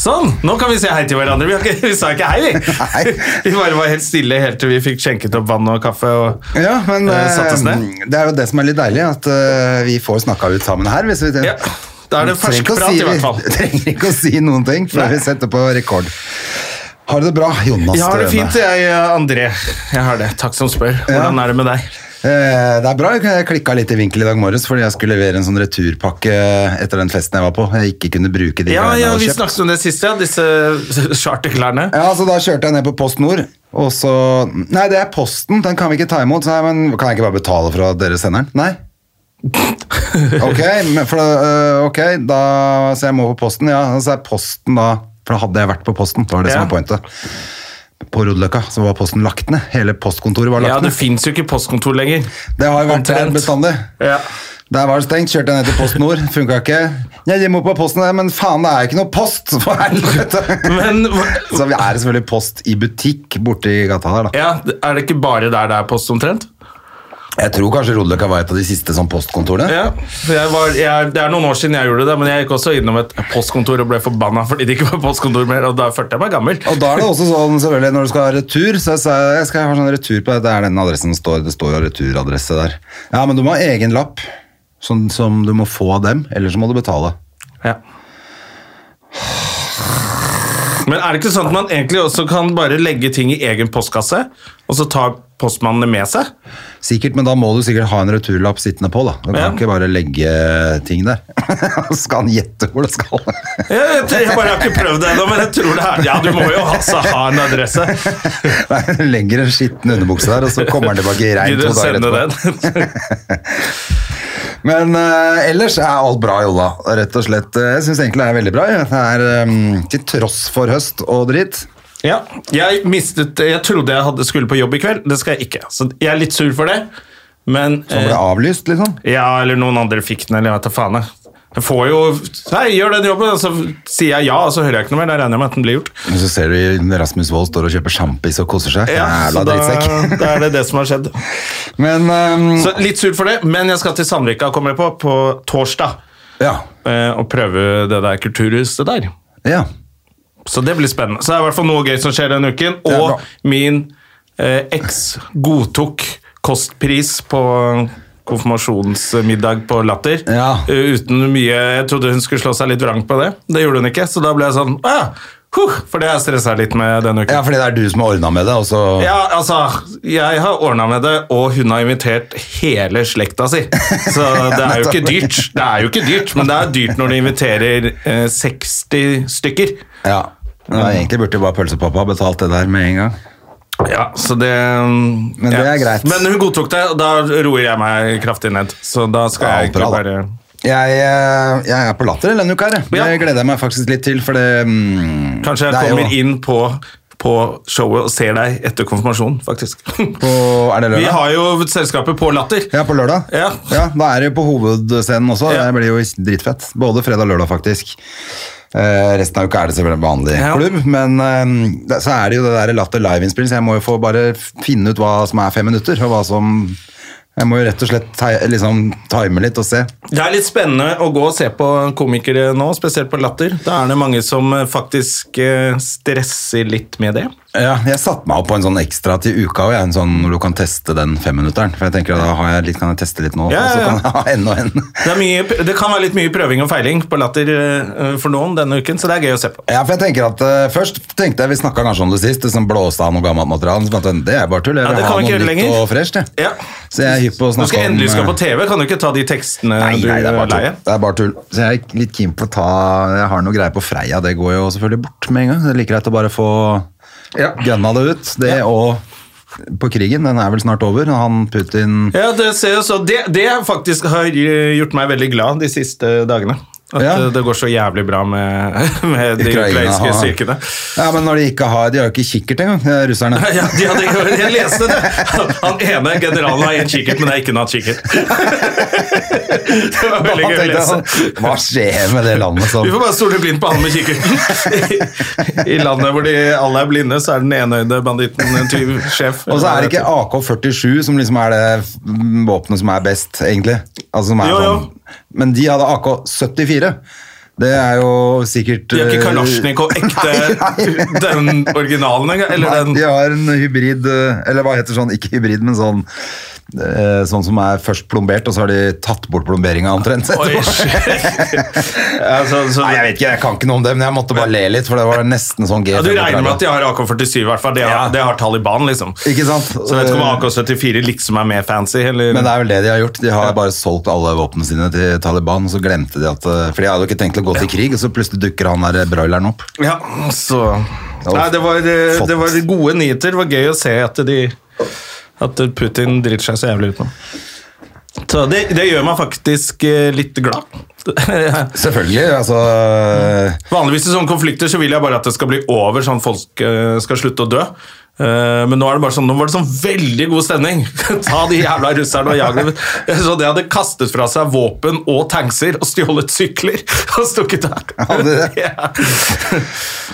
Sånn, nå kan vi si hei til hverandre. Vi, har ikke, vi sa ikke hei, vi. Vi bare var helt stille helt til vi fikk skjenket opp vann og kaffe. Og, Ja, men Eh, eh, satt oss ned? det er jo det som er litt deilig, at eh, vi får snakka ut sammen her. Hvis vi ja, da er det Trenger ikke å ferskprat, si- i hvert fall. vi Trenger ikke å si noen ting før vi setter på rekord. Har du det bra, Jonas? Jeg har det Støme? fint, jeg, eh, André. Jeg har det. Takk som spør. Hvordan er det med deg? Eh, Det er bra. Jeg klikka litt i vinkel i dag morges fordi jeg skulle levere en sånn returpakke etter den festen jeg var på. Jeg ikke kunne bruke de Ja, klærne jeg ja hadde Vi kjøpt. snakket om det siste, ja. disse charterklærne. Ja, så Da kjørte jeg ned på Post Nord, og så Nei, det er Posten, den kan vi ikke ta imot. Så jeg, men kan jeg ikke bare betale fra dere senderen? Nei. Ok, men for, da, øh, ok, da, så jeg må på Posten. Ja, så er Posten da For da hadde jeg vært på Posten, det var det Ja. som var pointet. På Rodeløkka så var Posten lagt ned. Hele postkontoret var lagt Ja, det ned. fins jo ikke postkontor lenger. Det har jo vært der Omtrent. bestandig. Ja. Der var det stengt, kjørte jeg ned til Post Nord, funka ikke. Ja, de må på posten der, men faen, det er jo ikke noe post! For helvete! Men Så vi er selvfølgelig post i butikk borti gata der, da. ja, er det ikke bare der det er post, omtrent? Jeg tror kanskje Rodeløkka var et av de siste sånn postkontorene. Ja, for jeg var, jeg, Det er noen år siden jeg gjorde det, men jeg gikk også innom et postkontor og ble forbanna fordi det ikke var postkontor mer, og da følte jeg meg gammel. Og da er det også sånn, selvfølgelig, når du skal ha retur, så jeg sa jeg skal ha sånn retur på det, det er den adressen som står, det står jo returadresse der. Ja, men du må ha egen lapp, sånn som du må få av dem, eller så må du betale. Ja. Men er det ikke sånn at man egentlig også kan bare legge ting i egen postkasse, og så tar postmannen det med seg? Sikkert, men da må du sikkert ha en returlapp sittende på, da. Du kan Ja. ikke bare legge ting der. skal han gjette hvor det skal? Jeg, vet- jeg bare har ikke prøvd det ennå, men jeg tror det er Ja, du må jo altså ha en adresse. Nei, du legger en skitten underbukse der, og så kommer han tilbake i regn Gidder to du å dager sende etterpå. den? Men eh, ellers er alt bra, Jolla. Rett og slett. Eh, Jeg syns egentlig det er veldig bra. jeg. Det er eh, til tross for høst og dritt. Ja, jeg mistet Jeg trodde jeg hadde, skulle på jobb i kveld. Det skal jeg ikke. Så jeg er litt sur for det, men Som ble avlyst, liksom. Ja, eller noen andre fikk den, eller jeg vet da faen. jeg. Jeg får jo Nei, gjør den jobben, og så sier jeg ja, og så hører jeg ikke noe mer. Da regner jeg med at den blir gjort. Men så ser du Rasmus Wold står og kjøper sjampis og koser seg. Ja, Jævla så da, drittsekk. da er det det som har skjedd. Men eh, Så litt sur for det, men jeg skal til Sandvika, kommer jeg på, på torsdag. ja. eh, Og prøve det der kulturhuset der. ja. Så det blir spennende. Så det er i hvert fall noe gøy som skjer denne uken. er Og bra. min eh, eks godtok kostpris på konfirmasjonsmiddag på Latter. Ja. Eh, uten mye Jeg trodde hun skulle slå seg litt vrang på det. Det gjorde hun ikke, så da ble jeg sånn ah, huh, For det har jeg stressa litt med denne uken. ja, fordi det er du som har ordna med det, og så Ja, altså, Jeg har ordna med det, og hun har invitert hele slekta si. Så det er jo ikke dyrt. Det er jo ikke dyrt, Men det er dyrt når du inviterer eh, 60 stykker. Ja. Ja, Mm. egentlig burde jo bare pølsepappa ha betalt det der med en gang. Ja, så det Men det ja. er greit. Men hun godtok det, og da roer jeg meg kraftig ned. Så da skal jeg Alt bra, da. egentlig bare Jeg, eh, jeg er på latter denne uka, her. jeg. Ja. Det gleder jeg meg faktisk litt til, for det mm, Kanskje jeg det er jo- kommer inn på, på showet og ser deg etter konfirmasjonen, faktisk. På- er det lørdag? Vi har jo selskapet på Latter. Ja, på lørdag. Ja. Da er det jo på hovedscenen også. Ja. Det blir jo dritfett. Både fredag og lørdag, faktisk. Eh, resten av uka er det selvfølgelig vanlig Ja. klubb, men eh, det- så er det jo det der Latter live-innspill, så jeg må jo få bare finne ut hva som er fem minutter, og hva som Jeg må jo rett og slett ti liksom time litt og se. Det er litt spennende å gå og se på komikere nå, spesielt på Latter. Da er det mange som eh, faktisk eh, stresser litt med det. Jeg satte meg opp på en sånn ekstra til uka, og jeg er en sånn hvor du kan teste den femminutteren. For jeg tenker at da har jeg litt, kan jeg teste litt nå, Ja, og så ja, kan ja. jeg ha en og en. Det, er mye, det kan være litt mye prøving og feiling på Latter eh, for noen denne uken, så det er gøy å se på. Ja, for jeg tenker at eh, Først tenkte jeg vi snakka kanskje om det sist, det som blåste av noe gammelt materiale. Så tenkte jeg, det er bare tull. Jeg Ja, vil det ha kan vi ikke noe gjøre nytt lenger. og fresht. jeg. Ja. Så jeg er hypp på å Nå skal snakke jeg om endelig skal på eh, TV, kan du ikke ta de tekstene Nei, du nei, det er bare tull. leier? Det er bare tull. Så jeg er litt keen på å ta Jeg har noe greier på Freia, det går jo selvfølgelig bort med en gang. Det er like greit å bare få Ja. gønna det ut. Det og på krigen, den er vel snart over. og Han Putin Ja, det ser jeg så. Det, det faktisk har eh, gjort meg veldig glad de siste dagene. At Ja. eh, det går så jævlig bra med, med de Ukraina ukrainske har- styrkene. Ja, men når de ikke har De har jo ikke kikkert engang, de russerne. Ja, de hadde, jeg leste det! Han- Han ene generalen har én kikkert, men det er ikke noe annet kikkert. Det var Da veldig gøy å tenkte jeg lese. sånn, Hva skjer med det landet som Vi får bare stole blindt på han med kikkerten. I, I landet hvor de alle er blinde, så er den enøyde banditten en tyv sjef. Og så er det ikke AK-47 som liksom er det mm, våpenet som er best, egentlig. Altså, som er Jo, jo. Sånn. Men de hadde AK-74. Det er jo sikkert De har eh, ikke Kalasjnikov ekte, den originalen engang? Eller Nei, den de har en hybrid eh, Eller hva heter sånn, ikke hybrid, men sånn eh, Sånn som er først plombert, og så har de tatt bort plomberinga omtrent. Oi, etterpå. shit. ja, så, så, Nei, jeg vet ikke, jeg kan ikke noe om det, men jeg måtte bare le litt, for det var nesten sånn G35. ja, du regner med at de har AK-47, i hvert fall. Det har, det har Taliban, liksom. Ikke sant? Eh. Så jeg vet ikke om AK-74 liksom er mer fancy, eller Men det er vel det de har gjort. De har bare solgt alle våpnene sine til Taliban, og så glemte de at eh, For de hadde jo ikke tenkt å gå til krig, og så plutselig dukker han der eh, broileren opp. Ja, så Nei, det var, eh, det var gode nyheter. Det var gøy å se at de At Putin driter seg så jævlig ut nå. Så det, det gjør meg faktisk eh, litt glad. Selvfølgelig, altså Vanligvis i sånne konflikter så vil jeg bare at det skal bli over, sånn folk eh, skal slutte å dø. Eh, Men nå er det bare sånn, nå var det sånn veldig god stemning! Ta de jævla russerne og jag dem. Så de hadde kastet fra seg våpen og tankser og stjålet sykler og stukket av. Hadde de det? Ja.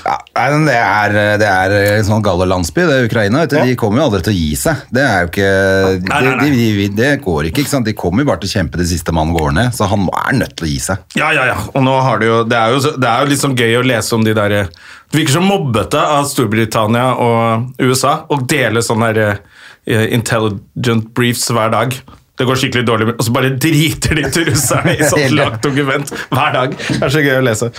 ja, nei, men det, er, eh, det er en sånn gale landsby, det er Ukraina. Vet du, De kommer jo aldri til å gi seg. Det er jo ikke Nei, nei, nei. De, de, de, Det går ikke, ikke sant. De kommer jo bare til å kjempe til siste mann går ned, så han er nødt til å gi seg. Ja, ja, ja. Og nå har det jo Det er jo, så- det er jo liksom gøy å lese om de der eh, Det virker så mobbete av Storbritannia og USA å dele sånne der, eh, intelligent briefs hver dag. Det går skikkelig dårlig, og så bare driter de til russerne i sånt langt dokument hver dag. Det er så gøy å lese.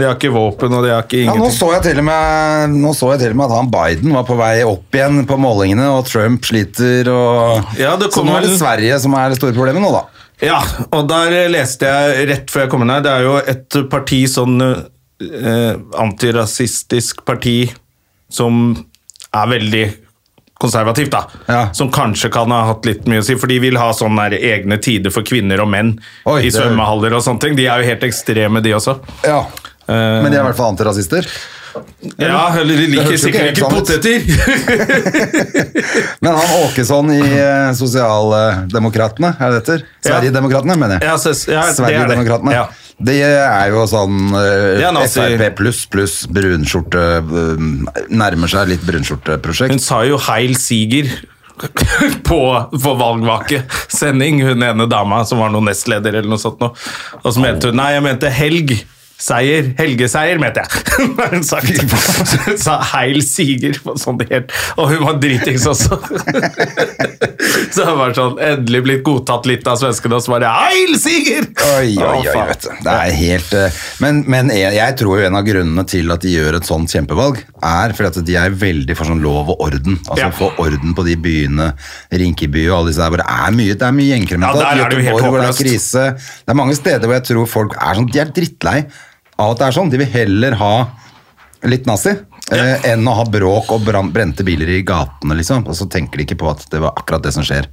De har ikke våpen, og de har ikke Ja, nå, ingenting. så jeg til og med, nå så jeg til og med at han Biden var på vei opp igjen på målingene, og Trump sliter og Ja, det Så nå kommer er det vel- Sverige som er det store problemet nå, da. Ja, og der eh, leste jeg rett før jeg kom inn her, det er jo et parti, sånn eh, antirasistisk parti, som er veldig konservativt, da. Ja. Som kanskje kan ha hatt litt mye å si, for de vil ha sånne der egne tider for kvinner og menn Oi, i det- svømmehaller og sånne ting. De er jo helt ekstreme, de også. Ja. Eh, Men de er i hvert fall antirasister. ja, eller de liker hørtes jo ikke sikkert helt ikke sånn ut. poteter! Men han Åkesson i eh, Sosialdemokratene, er det dette? Ja. Sverigedemokratene, mener jeg. Ja, så- ja, det er det. Sverigedemokratene. Ja. Det er jo sånn eh, Det er nazi. Frp pluss pluss brunskjorte eh, Nærmer seg litt Hun brunskjorteprosjekt. sa jo Heil Siger på, på valgvakesending, hun ene dama som var noen nestleder eller noe sånt. nå. Og så mente hun Nei, jeg mente helg. Seier. Helgeseier, mente jeg. Hva har hun sagt? Så hun sa Heil Siger på sånn helt Og hun var dritings også. Så det var sånn Endelig blitt godtatt litt av svenskene, og så bare Heil Siger! Oi, oi, Å, oi, faen. vet du. Det er helt eh, Men, men jeg, jeg tror jo en av grunnene til at de gjør et sånt kjempevalg, er fordi at de er veldig for sånn lov og orden. Altså Ja. få orden på de byene, Rinkeby og alle disse der. hvor Det er mye, det er mye gjengkriminalitet. Ja, der er det jo helt Göteborg, hvor det er håpløst. krise. Det er mange steder hvor jeg tror folk er sånn De er drittlei av at det er sånn. De vil heller ha litt nazi. eh, enn å ha bråk og bran- brente biler i gatene, liksom. Og så tenker de ikke på at det var akkurat det som skjer.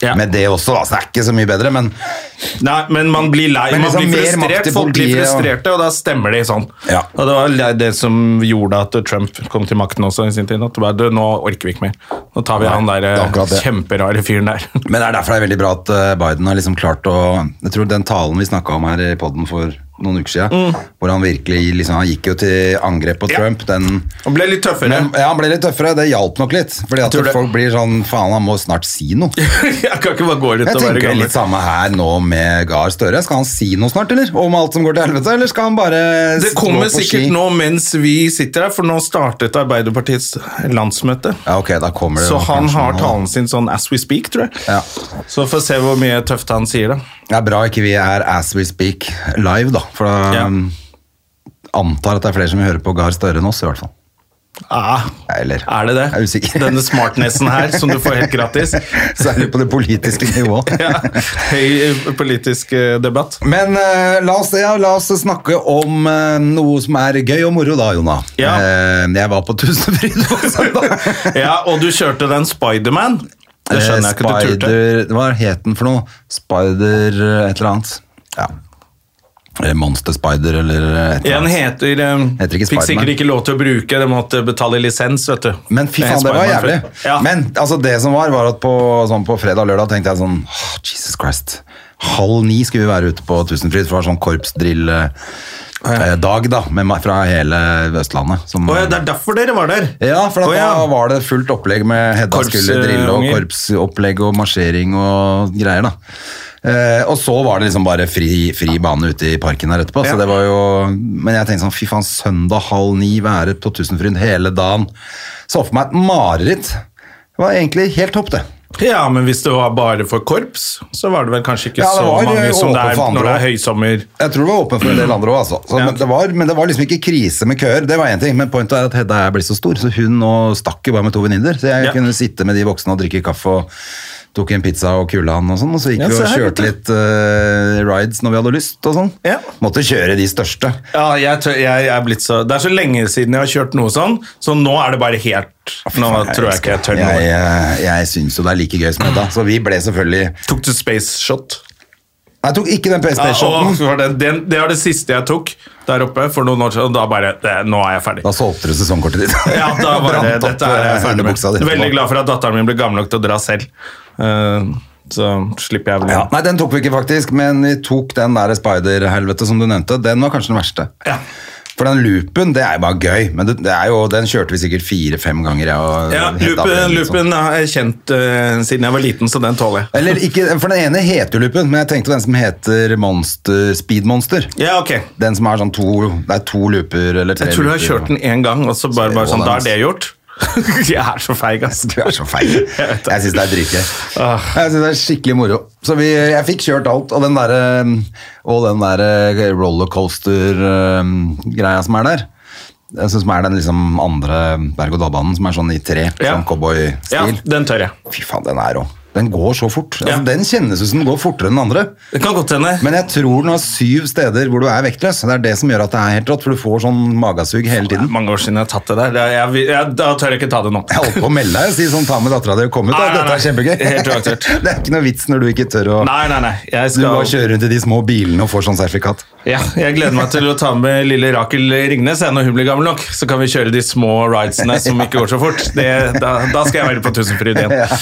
Ja. Med det også, da. Så det er ikke så mye bedre, men Nei, men man blir lei, Men liksom man blir mer makt frustrert, til folk blir politiet, og- frustrerte, og da stemmer de sånn. Ja. Og det var le- det som gjorde at Trump kom til makten også i sin tid, at det bare, du, nå orker vi ikke mer. Nå tar vi Nei, han der det er eh, akkurat det. kjemperare fyren der. Men det er derfor det er veldig bra at eh, Biden har liksom klart å Jeg tror den talen vi snakka om her i podden for noen uker siden, hvor han virkelig liksom, Han gikk jo til angrep på Mm. Ja. Trump. Den, Han ble litt tøffere. men, ja, han ble litt tøffere. Det hjalp nok litt. Fordi at Tror du- folk blir sånn Faen, han må snart si noe. jeg kan ikke bare gå ut Jeg og være tenker gammel. litt sånn, samme her nå med Gahr Støre. Skal han si noe snart, eller? Om alt som går til helvete? Eller skal han bare Det stå kommer på sikkert ski? nå mens vi sitter her, for nå startet Arbeiderpartiets landsmøte. Ja, ok, da kommer det Så nok han kanskje har noe, da. talen sin sånn as we speak, tror jeg. Ja. Så får vi se hvor mye tøft han sier da. Det er bra ikke vi er as we speak live, da. For da Ja. um, antar at det er flere som hører på Gahr Støre enn oss, i hvert fall. Ah, Eller er det det? Jeg er usikker. Denne smartnessen her, som du får helt gratis. Særlig på det politiske nivået. ja, høy eh, politisk eh, debatt. Men eh, la, oss, ja, la oss snakke om eh, noe som er gøy og moro, da, Jona. Ja. Eh, jeg var på Tusenfryd på søndag. Ja, og du kjørte den Spiderman. Eh, Det skjønner jeg ikke at du eh, turte. Spider, hva het den for noe? Spider eh, et eller annet. Ja. Eller Monster Spider, eller et eller En annet. heter, eh, Heter ikke Fikk Spiderman. sikkert ikke lov til å bruke, de måtte betale lisens, vet du. Men fy Det er faen, det var Spiderman jævlig. først. Ja. Men altså, det som var, var at på, sånn, på fredag og lørdag tenkte jeg sånn «Åh, Jesus Christ. Halv ni skulle vi være ute på Tusenfryd, for det var sånn korpsdrill-dag da, med, meg fra hele Østlandet. Som, Å ja, det er derfor dere var der! Ja, for at Å ja. da var det fullt opplegg med Hedda Korps, eh, skulle drille og unger. korpsopplegg og marsjering og greier, da. Eh, og så var det liksom bare fri, fri bane ute i parken her etterpå. Ja. Så det var jo, men jeg tenkte sånn, fy faen, søndag halv ni, være på Tusenfryd hele dagen. Så for meg et mareritt. Det var egentlig helt topp, det. Ja, men hvis det var bare for korps, så var det vel kanskje ikke Ja, det så var, mange eh, som det åpen er for andre når det er også. høysommer. Jeg tror det var åpen for en del andre òg, altså. Så, Ja. men, det var, men det var liksom ikke krise med køer. Det var en ting, Men pointet er at Hedda er blitt så stor, så hun nå stakk jo bare med to venninner. Så jeg Ja. kunne sitte med de voksne og drikke kaffe og tok en pizza og kula han og sånn. Og så gikk Ja, vi se og her, vet du. kjørte litt eh, rides når vi hadde lyst og sånn. Ja. Måtte kjøre de største. Ja, jeg, tør, jeg, jeg er blitt så, Det er så lenge siden jeg har kjørt noe sånn, så nå er det bare helt Nå tror jeg ikke jeg tør Jeg, noe. jeg, jeg syns jo det er like gøy som Hedda, så vi ble selvfølgelig Tok du space shot? Nei, Jeg tok ikke den Ja, PlayStation-en. å, var det, den, det var det siste jeg tok der oppe for noen år siden, og da bare det, Nå er jeg ferdig. Da solgte du sesongkortet ditt. Ja, da var det, Brant opp, dette er jeg eh, ferdig med. buksa di etterpå. Veldig glad for at datteren min ble gammel nok til å dra selv. Eh, så slipper jeg vel Ja, nei, den tok vi ikke faktisk, men vi tok den der spider-helvete som du nevnte. Den var kanskje den verste. Ja. For den loopen, det er jo bare gøy, men det, det er jo, den kjørte vi sikkert fire-fem ganger. Jeg, og, Ja, helt av den, Loopen, liksom. loopen er kjent eh, siden jeg var liten, så den tåler jeg. Eller ikke, for den ene heter jo loopen, men jeg tenkte på den som heter monster, Speed Monster. Ja, ok. Den som er sånn to, det er to looper eller tre Jeg tror du har looper. kjørt den én gang, og så bare, bare sånn Da er det gjort. Jeg er så feig, ass. Du er så feil. Jeg vet det. syns det er dritgøy. Ah. Jeg syns det er skikkelig moro. Så vi, jeg fikk kjørt alt, og den derre Og den derre rollercoaster-greia som er der. Jeg synes som er den liksom andre berg-og-dal-banen som er sånn i tre, Ja. sånn Ja, cowboy-stil. den tør jeg. Fy faen, den er rå. Den går så fort. Altså, Ja. Den kjennes ut som den går fortere enn den andre. Det kan godt hende. Men jeg tror den har syv steder hvor du er vektløs. Det er det som gjør at det er helt rått, for du får sånn magesug hele Det er tiden. mange år siden jeg har tatt det der. Det er- Jeg, jeg, da tør jeg ikke ta det nå. Jeg holdt på å melde deg og si sånn, ta med dattera di og kom ut. da. Nei, nei, Dette er nei. kjempegøy. Helt uaktørt. Det er ikke noe vits når du ikke tør å Nei, nei, nei. Jeg Du bare skal kjører rundt i de små bilene og får sånn sertifikat. ja, Jeg gleder meg til å ta med lille Rakel Ringnes jeg, når hun blir gammel nok. Så kan vi kjøre de små ridesene som ikke går så fort. Det, da, da skal jeg være på Tusenfryd igjen. Ja,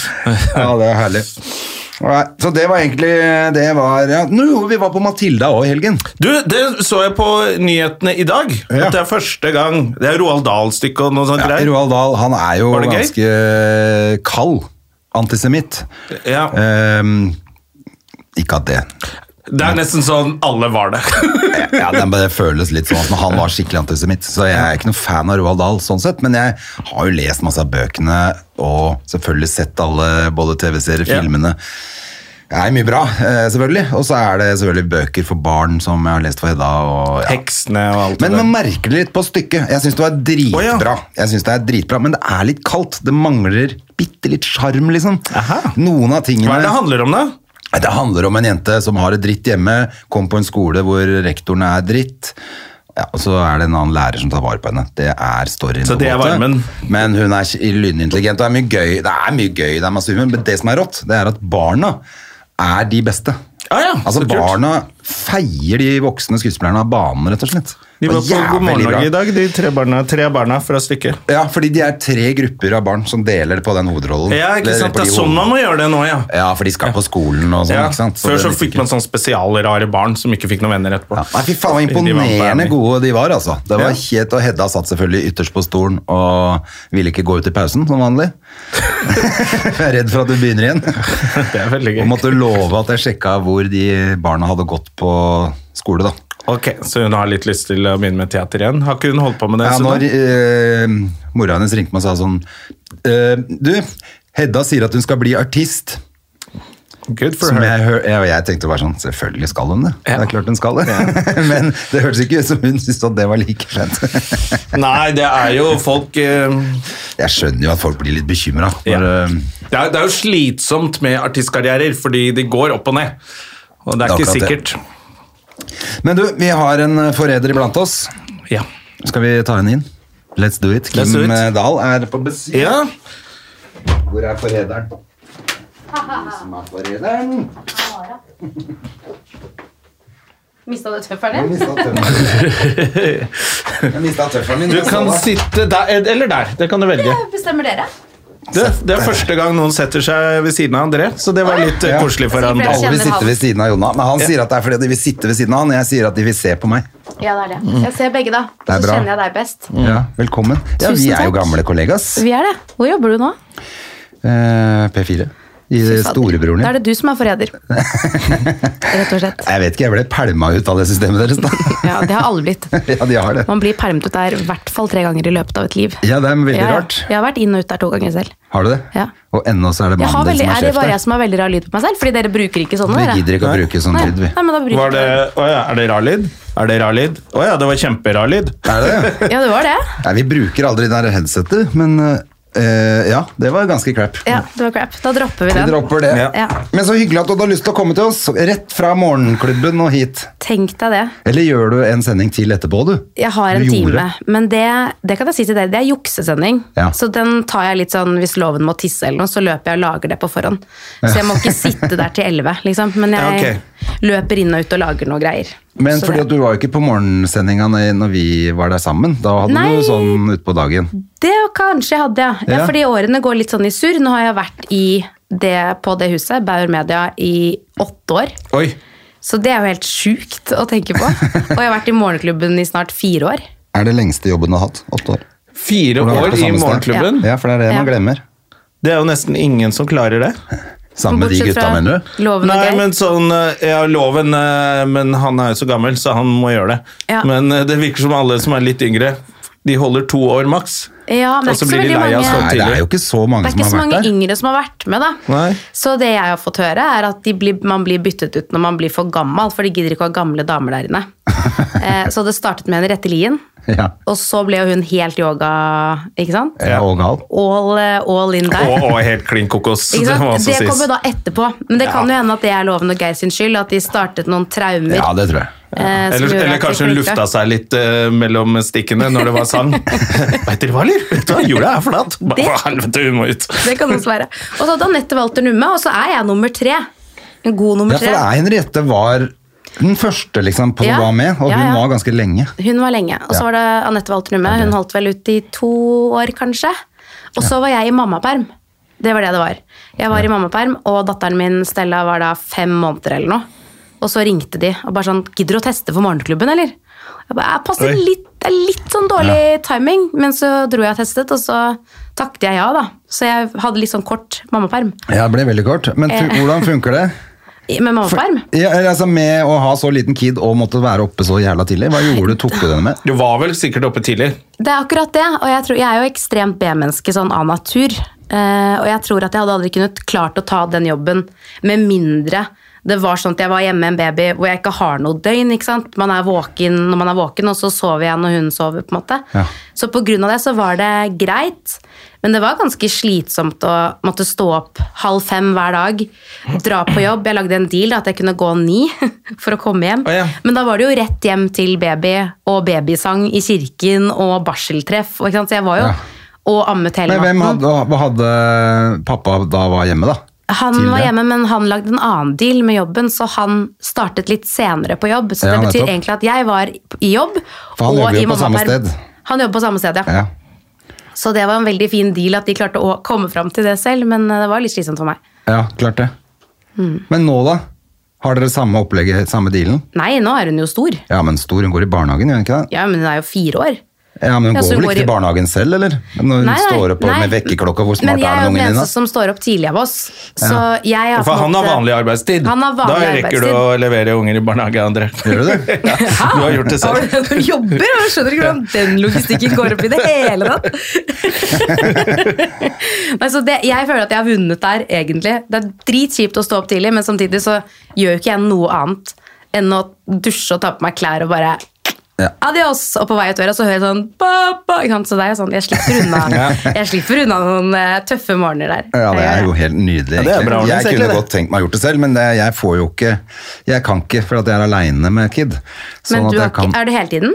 ja det er herlig. Alright, Så det var egentlig det var, ja. Nå, jo, Vi var på Matilda òg i helgen. Du, det så jeg på nyhetene i dag. Ja. At det er første gang Det er Roald Dahl-stykket og noe sånt greier. Roald Dahl han er jo Var det gøy? ganske eh, kald antisemitt. Ja, Ehm, ikke at det det er nesten sånn alle var det. ja, det, bare føles litt sånn som han var skikkelig antisemitt. Så jeg er ikke noen fan av Roald Dahl, sånn sett, men jeg har jo lest masse av bøkene og selvfølgelig sett alle både TV-serier, Ja. filmene. Det er mye bra, eh, selvfølgelig. Og så er det selvfølgelig bøker for barn som jeg har lest for Hedda. Og, ja. Heksene og alt Men det man merker det litt på stykket. Jeg syns det var dritbra. Å, ja. Jeg synes det er dritbra, Men det er litt kaldt. Det mangler bitte litt sjarm, liksom. Aha. Noen av tingene Hva er det det handler om, da? Nei, Det handler om en jente som har det dritt hjemme, kom på en skole hvor rektoren er dritt. Ja, og så er det en annen lærer som tar vare på henne. Det er storyen. Så på en det er måte. varmen. Men hun er ikke- lynintelligent, og det er mye gøy. Det er mye gøy, det er masse humor, men det som er rått, det er at barna er de beste. Ah, ja, altså så kult. Barna feier de voksne skuespillerne av banen, rett og slett. De var Det var på God morgen jævlig bra. Norge i dag, de tre barna, tre barna fra stykket. Ja, fordi de er tre grupper av barn som deler på den hovedrollen. Ja, ikke Eller sant? Mm. på Det de er sånn hoved- man må gjøre det nå, ja. Ja, for de skal på skolen og sånn. ja. ikke sant? Før det er så litt fikk kult. man sånn spesialrare barn som ikke fikk noen venner etterpå. Ja, nei, fy faen, De var bare imponerende med. gode de var, altså. Det var Ja. helt, og Hedda satt selvfølgelig ytterst på stolen og ville ikke gå ut i pausen, som vanlig. Jeg er redd for at du begynner igjen. Det er veldig gøy. Og måtte love at jeg sjekka hvor de barna hadde gått på skole, da. Ok, Så hun har litt lyst til å begynne med teater igjen? Har ikke hun holdt på med det? Ja, en stund når da? eh, mora hennes ringte meg og sa sånn eh, Du, Hedda sier at hun skal bli artist. Good for Som her. jeg, hør, jeg, og jeg tenkte bare sånn, selvfølgelig skal hun det. Ja. Det er klart hun skal det. Men det hørtes ikke ut som hun syntes at det var like skjønt. Nei, det er jo folk eh, Jeg skjønner jo at folk blir litt bekymra. Ja. når, eh, Det er, det er jo slitsomt med artistkarrierer, fordi de går opp og ned. Og det er Det er ikke akkurat det. sikkert. Men du, vi har en eh, forræder iblant oss. Ja. Skal vi ta henne inn? Let's do it. Kim Let's do it. eh, Dahl er på besøk. ja. Hvor er forræderen? Hvem som er forræderen? Mista du tøffelen din? Jeg mista tøffelen min. Du kan sitte der eller der. Det kan du velge. Bestemmer dere? Det, det er første gang noen setter seg ved siden av André, så det var litt eh, Ja. koselig for han. Jeg Alle vil kjenner sitte han. ved siden av Jonna. Men han sier at det er fordi de vil sitte ved siden av han. Jeg sier at de vil se på meg. Ja, det er det. Jeg ser begge, da. Det er Så bra. kjenner jeg deg best. Mm. Ja, velkommen. Ja, Tusen vi er jo takk. gamle kollegas. Vi er det. Hvor jobber du nå? Eh, P4. I storebroren Da din. er det du som er forræder. Rett og slett. Jeg vet ikke, jeg ble pælma ut av det systemet deres, da. Ja, det har alle blitt. ja, de har det. Man blir permet ut der i hvert fall tre ganger i løpet av et liv. Ja, det er veldig Ja, ja. rart. Jeg har vært inn og ut der to ganger selv. Har du det? Ja. Og ennå så er det Jeg har mannen din veldig, som er har det bare jeg kjeft. som har veldig rar lyd på meg selv? Fordi dere bruker ikke sånne? Vi dere? gidder ikke å bruke sånn Nei, lyd, vi. nei, men da bruker Var det, å ja, er det rar lyd? Er det rar lyd? Å ja, det var kjemperar lyd. Er det det? Ja, det var det. Nei, vi bruker aldri det der headsetet, men eh, ja, det var ganske crap. Ja, det var crap. Da dropper vi Vi den. dropper det. Ja. Ja. Men så hyggelig at du hadde lyst til å komme til oss, rett fra morgenklubben og hit. Tenk deg det. Eller gjør du en sending til etterpå, du? Jeg har Du en gjorde. time, men det, det kan jeg si til dere, det er juksesending. Ja. Så den tar jeg litt sånn hvis loven må tisse eller noe, så løper jeg og lager det på forhånd. Så jeg må ikke sitte der til elleve, liksom. Men jeg Ja, løper inn og ut og lager noe greier. Men Så fordi det- at du var jo ikke på morgensendinga når når vi var der sammen. Da hadde Nei. du sånn utpå dagen. Det kanskje jeg hadde, ja. ja. Ja. Fordi årene går litt sånn i surr. Nå har jeg vært i det, på det huset, Bauer Media, i åtte år. Oi. Så det er jo helt sjukt å tenke på. Og jeg har vært i morgenklubben i snart fire år. Er det lengste jobben du har hatt? Åtte år. Fire Hvor du har vært år på i samme sted. morgenklubben. Ja, for det er det man Ja. glemmer. Det er jo nesten ingen som klarer det. Sammen med de Bortsett gutta, fra mener du? Loven og Nei, Geir. men sånn eh, Ja, loven eh, Men han er jo så gammel, så han må gjøre det. Ja. Men eh, det virker som alle som er litt yngre, de holder to år maks. Ja, Og men det så er ikke så blir de veldig lei av mange. sånn Nei, det er jo tidlig. ikke så mange Det er ikke så som har mange vært der. yngre som har vært med, da. Nei. Så det jeg har fått høre, er at de blir, man blir byttet ut når man blir for gammel, for de gidder ikke å ha gamle damer der inne. Eh, så det startet med Henriette Lien, Ja. og så ble jo hun helt yoga, ikke sant? Ja, og gal. All, eh, all in der. Og, og helt klin kokos. Ikke Det må sant? også Det sies. kommer da etterpå. Men det kan Ja. jo hende at det er Loven og Geir sin skyld, at de startet noen traumer. Ja, det tror jeg. eh, som Eller, gjorde eller at de kanskje hun flirte. lufta seg litt eh, mellom stikkene når det var sang. Veit dere hva, eller? Vet du hva, Jorda er flat! Hva Det- helvete, hun må ut! Det kan også være. Og så hadde Anette Walter Numme, og så er jeg nummer tre. En god nummer Ja, for tre. det er Henriette var den første liksom, på Ja. å være med, og Ja, ja. hun var ganske lenge. Hun var lenge. Og Ja. så var det Anette Walter Numme. Hun holdt vel ut i to år, kanskje. Og så var jeg i mammaperm. Det var det det var. Jeg var i mammaperm, og datteren min Stella var da fem måneder eller noe. Og så ringte de og bare sånn 'Gidder du å teste for morgenklubben, eller?' Jeg bare, jeg passer Oi. litt, det er litt sånn dårlig timing, men så dro jeg og testet, og så takket jeg ja, da. Så jeg hadde litt sånn kort mammaperm. Ja, det ble veldig kort. Men tu- Eh. hvordan funker det? I- Med mammaperm? Ja, eller altså Med å ha så liten kid og måtte være oppe så jævla tidlig, hva gjorde du? Tok du den med? Du var vel sikkert oppe tidlig. Det er akkurat det, og jeg, tror, jeg er jo ekstremt B-menneske sånn av natur. eh, og jeg tror at jeg hadde aldri kunnet klart å ta den jobben med mindre det var sånn at jeg var hjemme med en baby hvor jeg ikke har noe døgn. ikke sant? Man er våken når man er våken, og så sover jeg når hun sover. på en måte. Ja. Så på grunn av det så var det greit, men det var ganske slitsomt å måtte stå opp halv fem hver dag, dra på jobb. Jeg lagde en deal da, at jeg kunne gå ni for å komme hjem. Å ja. Men da var det jo rett hjem til baby, og babysang i kirken, og barseltreff. Og, ikke sant? Så jeg var jo, Ja. og ammet hele Men hvem natten. hadde, hva hadde pappa da var hjemme, da? Han var tidligere? hjemme, men han lagde en annen deal med jobben, så han startet litt senere på jobb. Så Ja, det betyr nettopp. egentlig at jeg var i jobb, For han jobber og jo i på samme mammaperm. sted. Han jobber på samme sted, ja. Ja. Så det var en veldig fin deal at de klarte å komme fram til det selv, men eh, det var litt slitsomt for meg. ja, klart det. Men nå, da? Har dere samme opplegget, samme dealen? Nei, nå er hun jo stor. Ja, men stor, hun går i barnehagen, gjør hun ikke det? Ja, men hun er jo fire år. Ja, men hun Ja, så går vel går ikke i- til barnehagen selv, eller? Når hun Nei, nei, står opp nei. med vekkerklokka, hvor Men smart jeg er er den ungen jo den din, eneste da? som står opp tidlig av oss. Så jeg har For han har vanlig arbeidstid. Han har da vanlig rekker du å levere unger i barnehage, André. Gjør du det? Ja, du har gjort det Har selv. du det når du jobber? Jeg skjønner ikke hvordan den logistikken går opp i det hele tatt. Nei, så det, jeg føler at jeg har vunnet der, egentlig. Det er dritkjipt å stå opp tidlig, men samtidig så gjør jo ikke jeg noe annet enn å dusje og ta på meg klær og bare Ja. Adios! Og på vei ut døra så hører jeg sånn «Pappa!» ikke sant? Så det er jo sånn, jeg slipper unna, jeg slipper unna noen eh, tøffe morgener der. Ja, det er jo helt nydelig. det er egentlig. bra, Agnes, jeg egentlig, kunne det. godt tenkt meg å gjort det selv, men det, jeg får jo ikke Jeg kan ikke, for at jeg er aleine med kid. Sånn Eh, Men at du har, jeg ikke- kan er du hele tiden?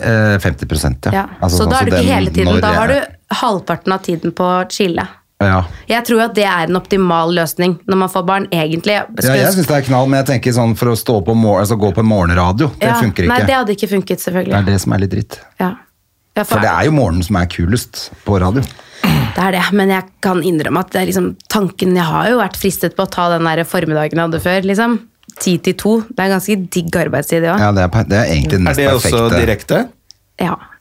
eh, 50 ja. Ja. Altså, så sånn da er som du ikke den- hele når tiden. Da jeg- har du halvparten av tiden på å chille. Ja. Jeg tror at det er en optimal løsning når man får barn, egentlig. Ja, jeg syns det er knall, men jeg tenker sånn for å stå opp om mor- altså gå på morgenradio, det Ja, funker ikke. Nei, det det, hadde ikke funket, selvfølgelig. er det som er litt dritt. Ja. Ja, for, For det er jo morgenen som er kulest på radio. Det er det, men jeg kan innrømme at det er liksom, tanken Jeg har jo vært fristet på å ta den der formiddagen jeg hadde før. liksom. Ti til to. Det er ganske digg arbeidstid, det òg. Ja. Ja, det er, per- det er egentlig den Er mest det også perfekte. direkte?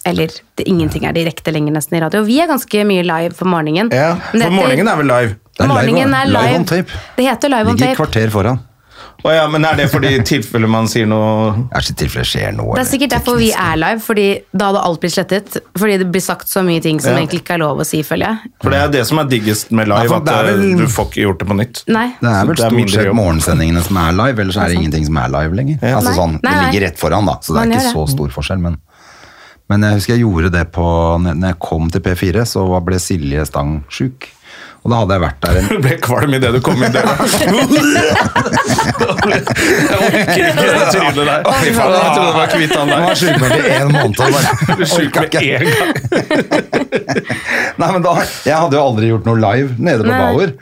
Eller det, ingenting er direkte lenger, nesten, i radio. Vi er ganske mye live på morgenen. Ja, Men For dette- morgenen er vel live? Det er live morgenen on- er live live. on tape. Det heter live on Ligger tape. et kvarter foran. Å ja, men er det fordi i tilfelle man sier noe Det er ikke tilfelle det skjer noe. Det er eller sikkert derfor vi teknisk. er live, fordi da hadde alt blitt slettet. Fordi det blir sagt så mye ting som Ja. egentlig ikke er lov å si, føler jeg. For det er det som er diggest med Ja, live, for at det er eh, vel- du får ikke gjort det på nytt. Nei. Det er vel Så det er stort mindre sett jobb. morgensendingene som er live, ellers er det ingenting som er live lenger. Altså sånn, Det Nei, nei. ligger rett foran, da, så det Man er gjør ikke så det. stor forskjell. Men, men jeg husker jeg gjorde det på Når jeg kom til P4, så var- ble Silje Stang sjuk. Og da hadde jeg vært der en Du ble kvalm idet du kom inn døra. Jeg orker ikke det trynet der. Å, fy Jeg faen, trodde det var kvitt han Ah. Han var der. sjukmeldt i en måned. Og Du ble bare, syk orka med ikke. en gang. Nei, men da, jeg hadde jo aldri gjort noe live nede på Nei. Bauer.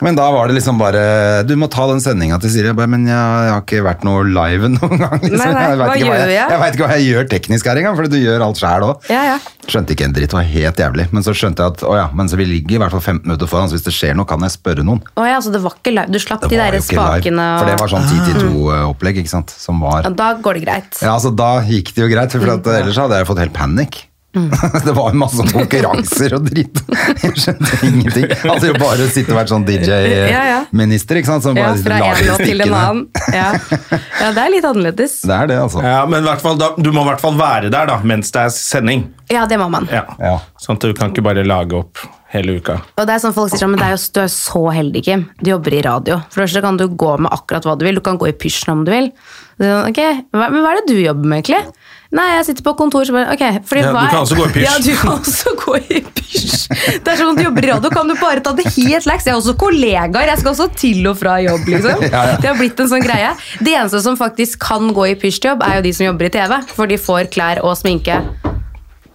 Men da var det liksom bare Du må ta den sendinga til Silje. Jeg bare, men jeg, jeg har ikke vært noe live noen gang. Liksom. Nei, nei, jeg vet hva ikke jeg, gjør jeg? jeg veit ikke hva jeg gjør teknisk her engang, for du gjør alt sjæl òg. Ja, ja. Skjønte ikke en dritt, det var helt jævlig. Men så skjønte jeg at å ja, men så vi ligger i hvert fall 15 minutter foran, så hvis det skjer noe, kan jeg spørre noen. Å ja, så det var ikke live. Du slapp Det de var jo der ikke live, spakene og Ah. for det var sånn 10-2-opplegg, ikke sant. Som var ja, Da går det greit. ja, altså Da gikk det jo greit, for at, ellers hadde jeg fått helt panikk. Mm. det var jo masse konkurranser og dritt. Jeg skjønte ingenting. Altså jo bare sitte og vært sånn Ja, ja. DJ-minister, ikke sant. Som Ja, bare fra lar en det låt til en stikke ned. annen. Ja. ja, det er litt annerledes. Det er det, altså. Ja, men i hvert fall, da, du må i hvert fall være der da, mens det er sending. Ja, det må man. Ja. Ja. Sånn at du kan ikke bare lage opp hele uka. Og det er sånn folk sier sånn, men det er jo, du er så heldig, Kim. Du jobber i radio. For det første kan du gå med akkurat hva du vil. Du kan gå i pysjen om du vil. Så er det Sånn, ok, hva, men hva er det du jobber med, egentlig? Nei, jeg sitter på kontor så bare, ok. Fordi, Ja, hva du er- kan også gå i pysj. Ja, du kan også gå i pysj. Det er sånn at du jobber i radio, kan du bare ta det helt lax. Jeg har også kollegaer, jeg skal også til og fra jobb, liksom. Det har blitt en sånn greie. Det eneste som faktisk kan gå i pysjjobb, er jo de som jobber i TV. For de får klær og sminke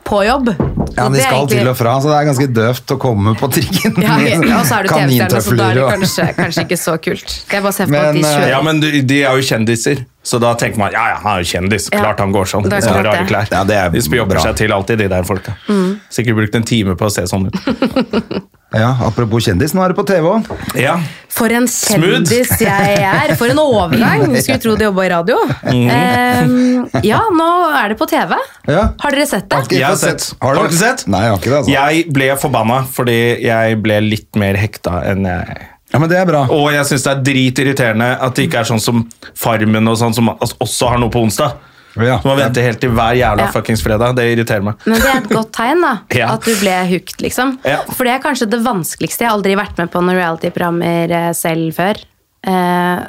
på jobb. Ja, men Og De det er skal egentlig- til og fra, så det er ganske døvt å komme på trikken. ja, ok. Og så er du TV-stjerne, så da er det og- kanskje, kanskje ikke så kult. Jeg bare ser for meg Men, at de eh, kjører Ja, men de, de er jo kjendiser, så da tenker man ja, ja, han er jo kjendis. Ja. Klart han går sånn. Det er Mm. Sånne klart rare det. klær. Ja, det er de spjobber bra. seg til alltid, de der folka. Sikkert brukt en time på å se sånn ut. Ja, Apropos kjendis, nå er det på TV òg. Ja. For en Smooth. kjendis jeg er! For en overgang! Skulle tro de jobba i radio. Eh, ja, nå er det på TV. Ja. Har dere sett det? Jeg har sett. Har du Har du ikke sett? Nei, jeg har ikke det. altså. Jeg ble forbanna fordi jeg ble litt mer hekta enn jeg Ja, Men det er bra. Og jeg syns det er dritirriterende at det ikke er sånn som Farmen og sånn, som altså, også har noe på onsdag. Ja. Så man venter helt til hver jævla Ja. fuckings fredag. Det irriterer meg. Men det er et godt tegn, da. Ja. At du ble hooked, liksom. Ja. For det er kanskje det vanskeligste. Jeg har aldri vært med på noen reality-programmer eh, selv før. Eh,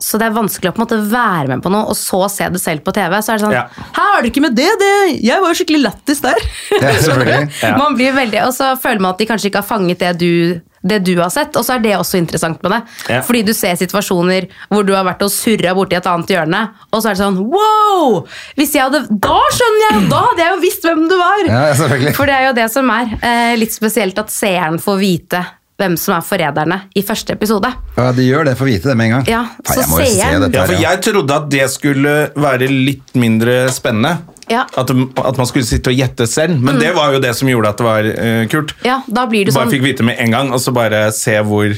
så det er vanskelig å på en måte være med på noe, og så se det selv på TV. Så er det sånn Ja. Hæ, var du ikke med det? det? Jeg var jo skikkelig lættis der. Ja, selvfølgelig. Ja. Man blir veldig, Og så føler man at de kanskje ikke har fanget det du, det du har sett, og så er det også interessant med det. Ja. Fordi du ser situasjoner hvor du har vært og surra borti et annet hjørne, og så er det sånn wow! Hvis jeg hadde, da skjønner jeg jo! Da hadde jeg jo visst hvem du var! Ja, ja, selvfølgelig. For det er jo det som er eh, litt spesielt at seeren får vite hvem som er forræderne i første episode. Ja, De gjør det for å vite det med en gang. Ja, Faen, så jeg må jo ser se jeg- dette Ja, her, for ja. jeg trodde at det skulle være litt mindre spennende. Ja. Mm. At, at man skulle sitte og gjette selv. Men det var jo det som gjorde at det var eh, kult. Ja, da blir du Bare sånn fikk vite med en gang, og så bare se hvor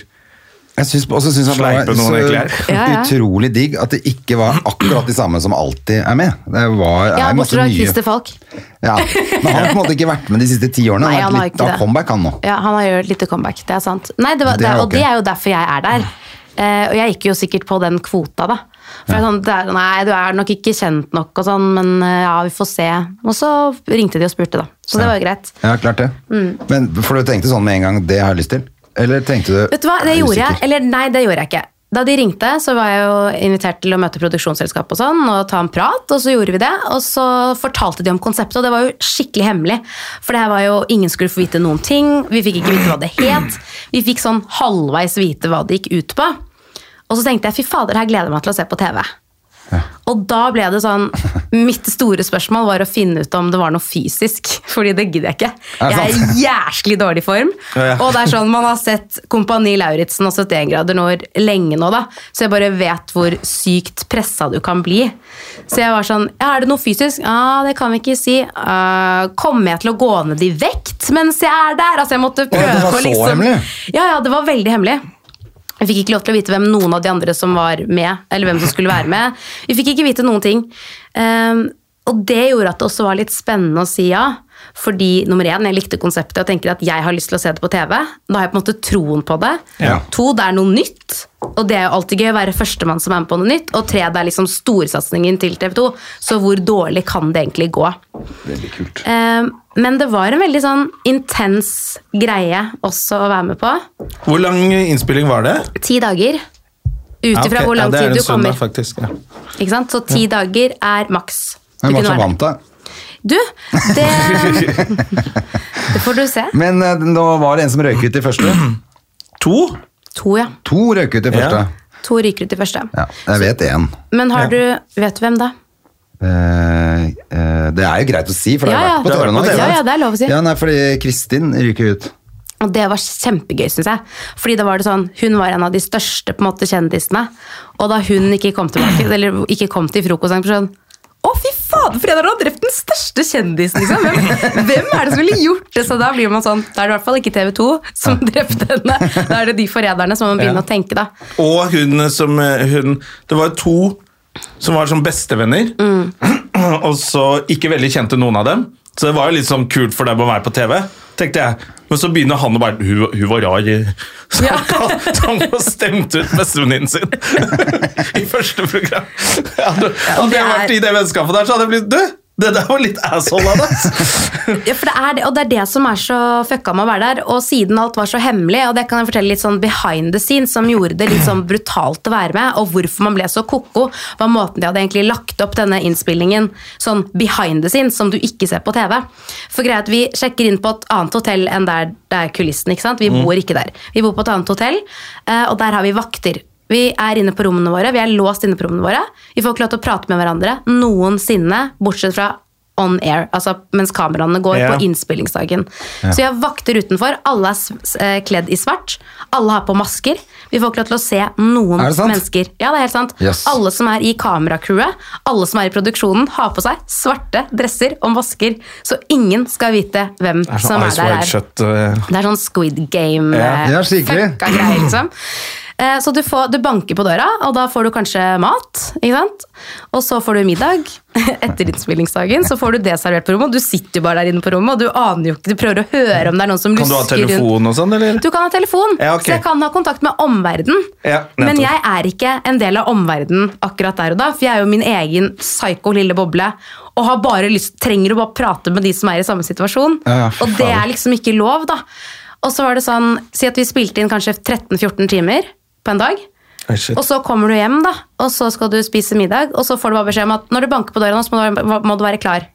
Jeg syns, også syns jeg det Sleipe noen egentlig var her. så Ja, ja. utrolig digg at det ikke var akkurat de samme som alltid er med. Det var det Ja, er masse bortsett fra nye. Christer Falk. Ja. Men han har på en måte ikke vært med de siste ti årene. Nei, Han har han har vært ikke litt av det. comeback, han nå. Ja, han har gjort lite comeback, det er sant. Nei, det var, Det det, er og ok. det er jo derfor jeg er der. Eh, og jeg gikk jo sikkert på den kvota, da. For jeg sånn, det er, nei, du er nok ikke kjent nok og sånn, men eh, ja, vi får se. Og så ringte de og spurte, da. Så det var jo greit. Mm. Ja, klart det. Men For du tenkte sånn med en gang 'det har jeg lyst til'? Eller tenkte du Vet du hva, det Eh, er gjorde jeg. usikker? Eller nei, det gjorde jeg ikke. Da de ringte, så var jeg jo invitert til å møte produksjonsselskapet og sånn, og ta en prat, og så gjorde vi det. Og så fortalte de om konseptet, og det var jo skikkelig hemmelig. For det her var jo, ingen skulle få vite noen ting, vi fikk ikke vite hva det het. Vi fikk sånn halvveis vite hva det gikk ut på. Og så tenkte jeg, fy fader, her gleder jeg meg til å se på TV. Og da ble det sånn Mitt store spørsmål var å finne ut om det var noe fysisk, fordi det gidder jeg ikke. Er det Jeg er sant? i jæsklig dårlig form. Ja, ja. Og det er sånn, man har sett Kompani Lauritzen og 71 grader nord lenge nå, da. Så jeg bare vet hvor sykt pressa du kan bli. Så jeg var sånn ja, Er det noe fysisk? Ja, det kan vi ikke si. Eh, kommer jeg til å gå ned i vekt mens jeg er der? Altså, jeg måtte prøve det var å så liksom hemmelig? Ja, ja, det var veldig hemmelig. Vi fikk ikke lov til å vite hvem noen av de andre som var med, eller hvem som skulle være med. Vi fikk ikke vite noen ting. Ehm, og det gjorde at det også var litt spennende å si ja. Fordi nummer én, jeg likte konseptet og tenker at jeg har lyst til å se det på TV. Da har jeg på en måte troen på det. Ja. To, det er noe nytt. Og det er jo alltid gøy å være førstemann som er med på noe nytt. Og tre, det er liksom storsatsingen til TV 2. Så hvor dårlig kan det egentlig gå? Veldig kult. Ehm, men det var en veldig sånn intens greie også å være med på. Hvor lang innspilling var det? Ti dager. Ut Ja, ifra ok. hvor ja, lang det er tid en du søndag, kommer. faktisk. Ja. Ikke sant? Så ti dager er maks. du Hvem var kunne det som være vant, da? der. Du, det Det får du se. Men eh, nå var det en som røyk ut i første. To? To, ja. To røyk ut i første. Ja. To ryker ut i første. Ja, jeg vet én. Men har du Vet du hvem da? Eh, eh, det er jo greit å si, for det har Ja, vært på ja. TV nå. Det har vært på ikke TV. sant? Ja, ja, det er lov å si. Ja, nei, fordi Kristin ryker ut. Og det var kjempegøy, syns jeg. Fordi da var det sånn, Hun var en av de største på en måte, kjendisene. Og da hun ikke kom tilbake, eller ikke kom til frokost, tenkte jeg sånn å, fy fader, Fredag har drept den største kjendisen, liksom! Hvem, hvem er det som ville gjort det? Så da blir man sånn, da er det i hvert fall ikke TV 2 som drepte henne. Da er det de forræderne som må begynne å tenke, da. Og hun som eh, hun, Det var to som var som bestevenner, og så ikke veldig kjente noen av dem. Så det var jo litt sånn kult for dem å være på TV, tenkte jeg. Men så begynner han å bare Hun, hun var rar. Så Ja. han, så han var stemt ut bestevenninnen sin i første program. Hadde hadde jeg vært i det vennskapet der, så hadde jeg blitt Du, det der var litt asshole av deg! Ja, for det er det, og det er det som er så fucka med å være der. Og siden alt var så hemmelig, og det kan jeg fortelle litt sånn behind the scenes, som gjorde det litt sånn brutalt å være med, og hvorfor man ble så ko-ko, var måten de hadde egentlig lagt opp denne innspillingen sånn behind the scenes, som du ikke ser på TV. For greia er at vi sjekker inn på et annet hotell enn der det er kulissen, ikke sant? Vi bor ikke der. Vi bor på et annet hotell, eh, og der har vi vakter. Vi er inne på rommene våre, vi er låst inne på rommene våre. Vi får ikke lov til å prate med hverandre noensinne, bortsett fra on air, altså mens kameraene går Ja. på innspillingsdagen. Så vi har vakter utenfor, alle er s- s- eh, kledd i svart, alle har på masker. Vi får ikke lov til å se noen Er det sant? mennesker. Ja, det er helt sant. Yes. Alle som er i kameracrewet, alle som er i produksjonen, har på seg svarte dresser og masker, så ingen skal vite hvem som er der. her. Det er sånn Squid Game. Ja, eh, ja, skikkelig. fucka greier, liksom. Eh, Så du, får, du banker på døra, og da får du kanskje mat. ikke sant? Og så får du middag etter innspillingsdagen. Så får du det servert på rommet, og du sitter jo bare der inne på rommet, og du aner jo ikke, du prøver å høre om det er noen som Kan du ha lusker rundt. telefon og sånn, eller? Du kan ha telefon, Ja, ok. så jeg kan ha kontakt med omverdenen. Ja, nettopp. men jeg er ikke en del av omverdenen akkurat der og da, for jeg er jo min egen psyko lille boble. Og har bare lyst, trenger å bare prate med de som er i samme situasjon. Ja, fy og det faen. er liksom ikke lov, da. Og så var det sånn, Si at vi spilte inn kanskje 13-14 timer på en dag. Oi, shit. Og så kommer du hjem, da, og så skal du spise middag, og så får du bare beskjed om at når du banker på døra nå, så må du, være- må du være klar.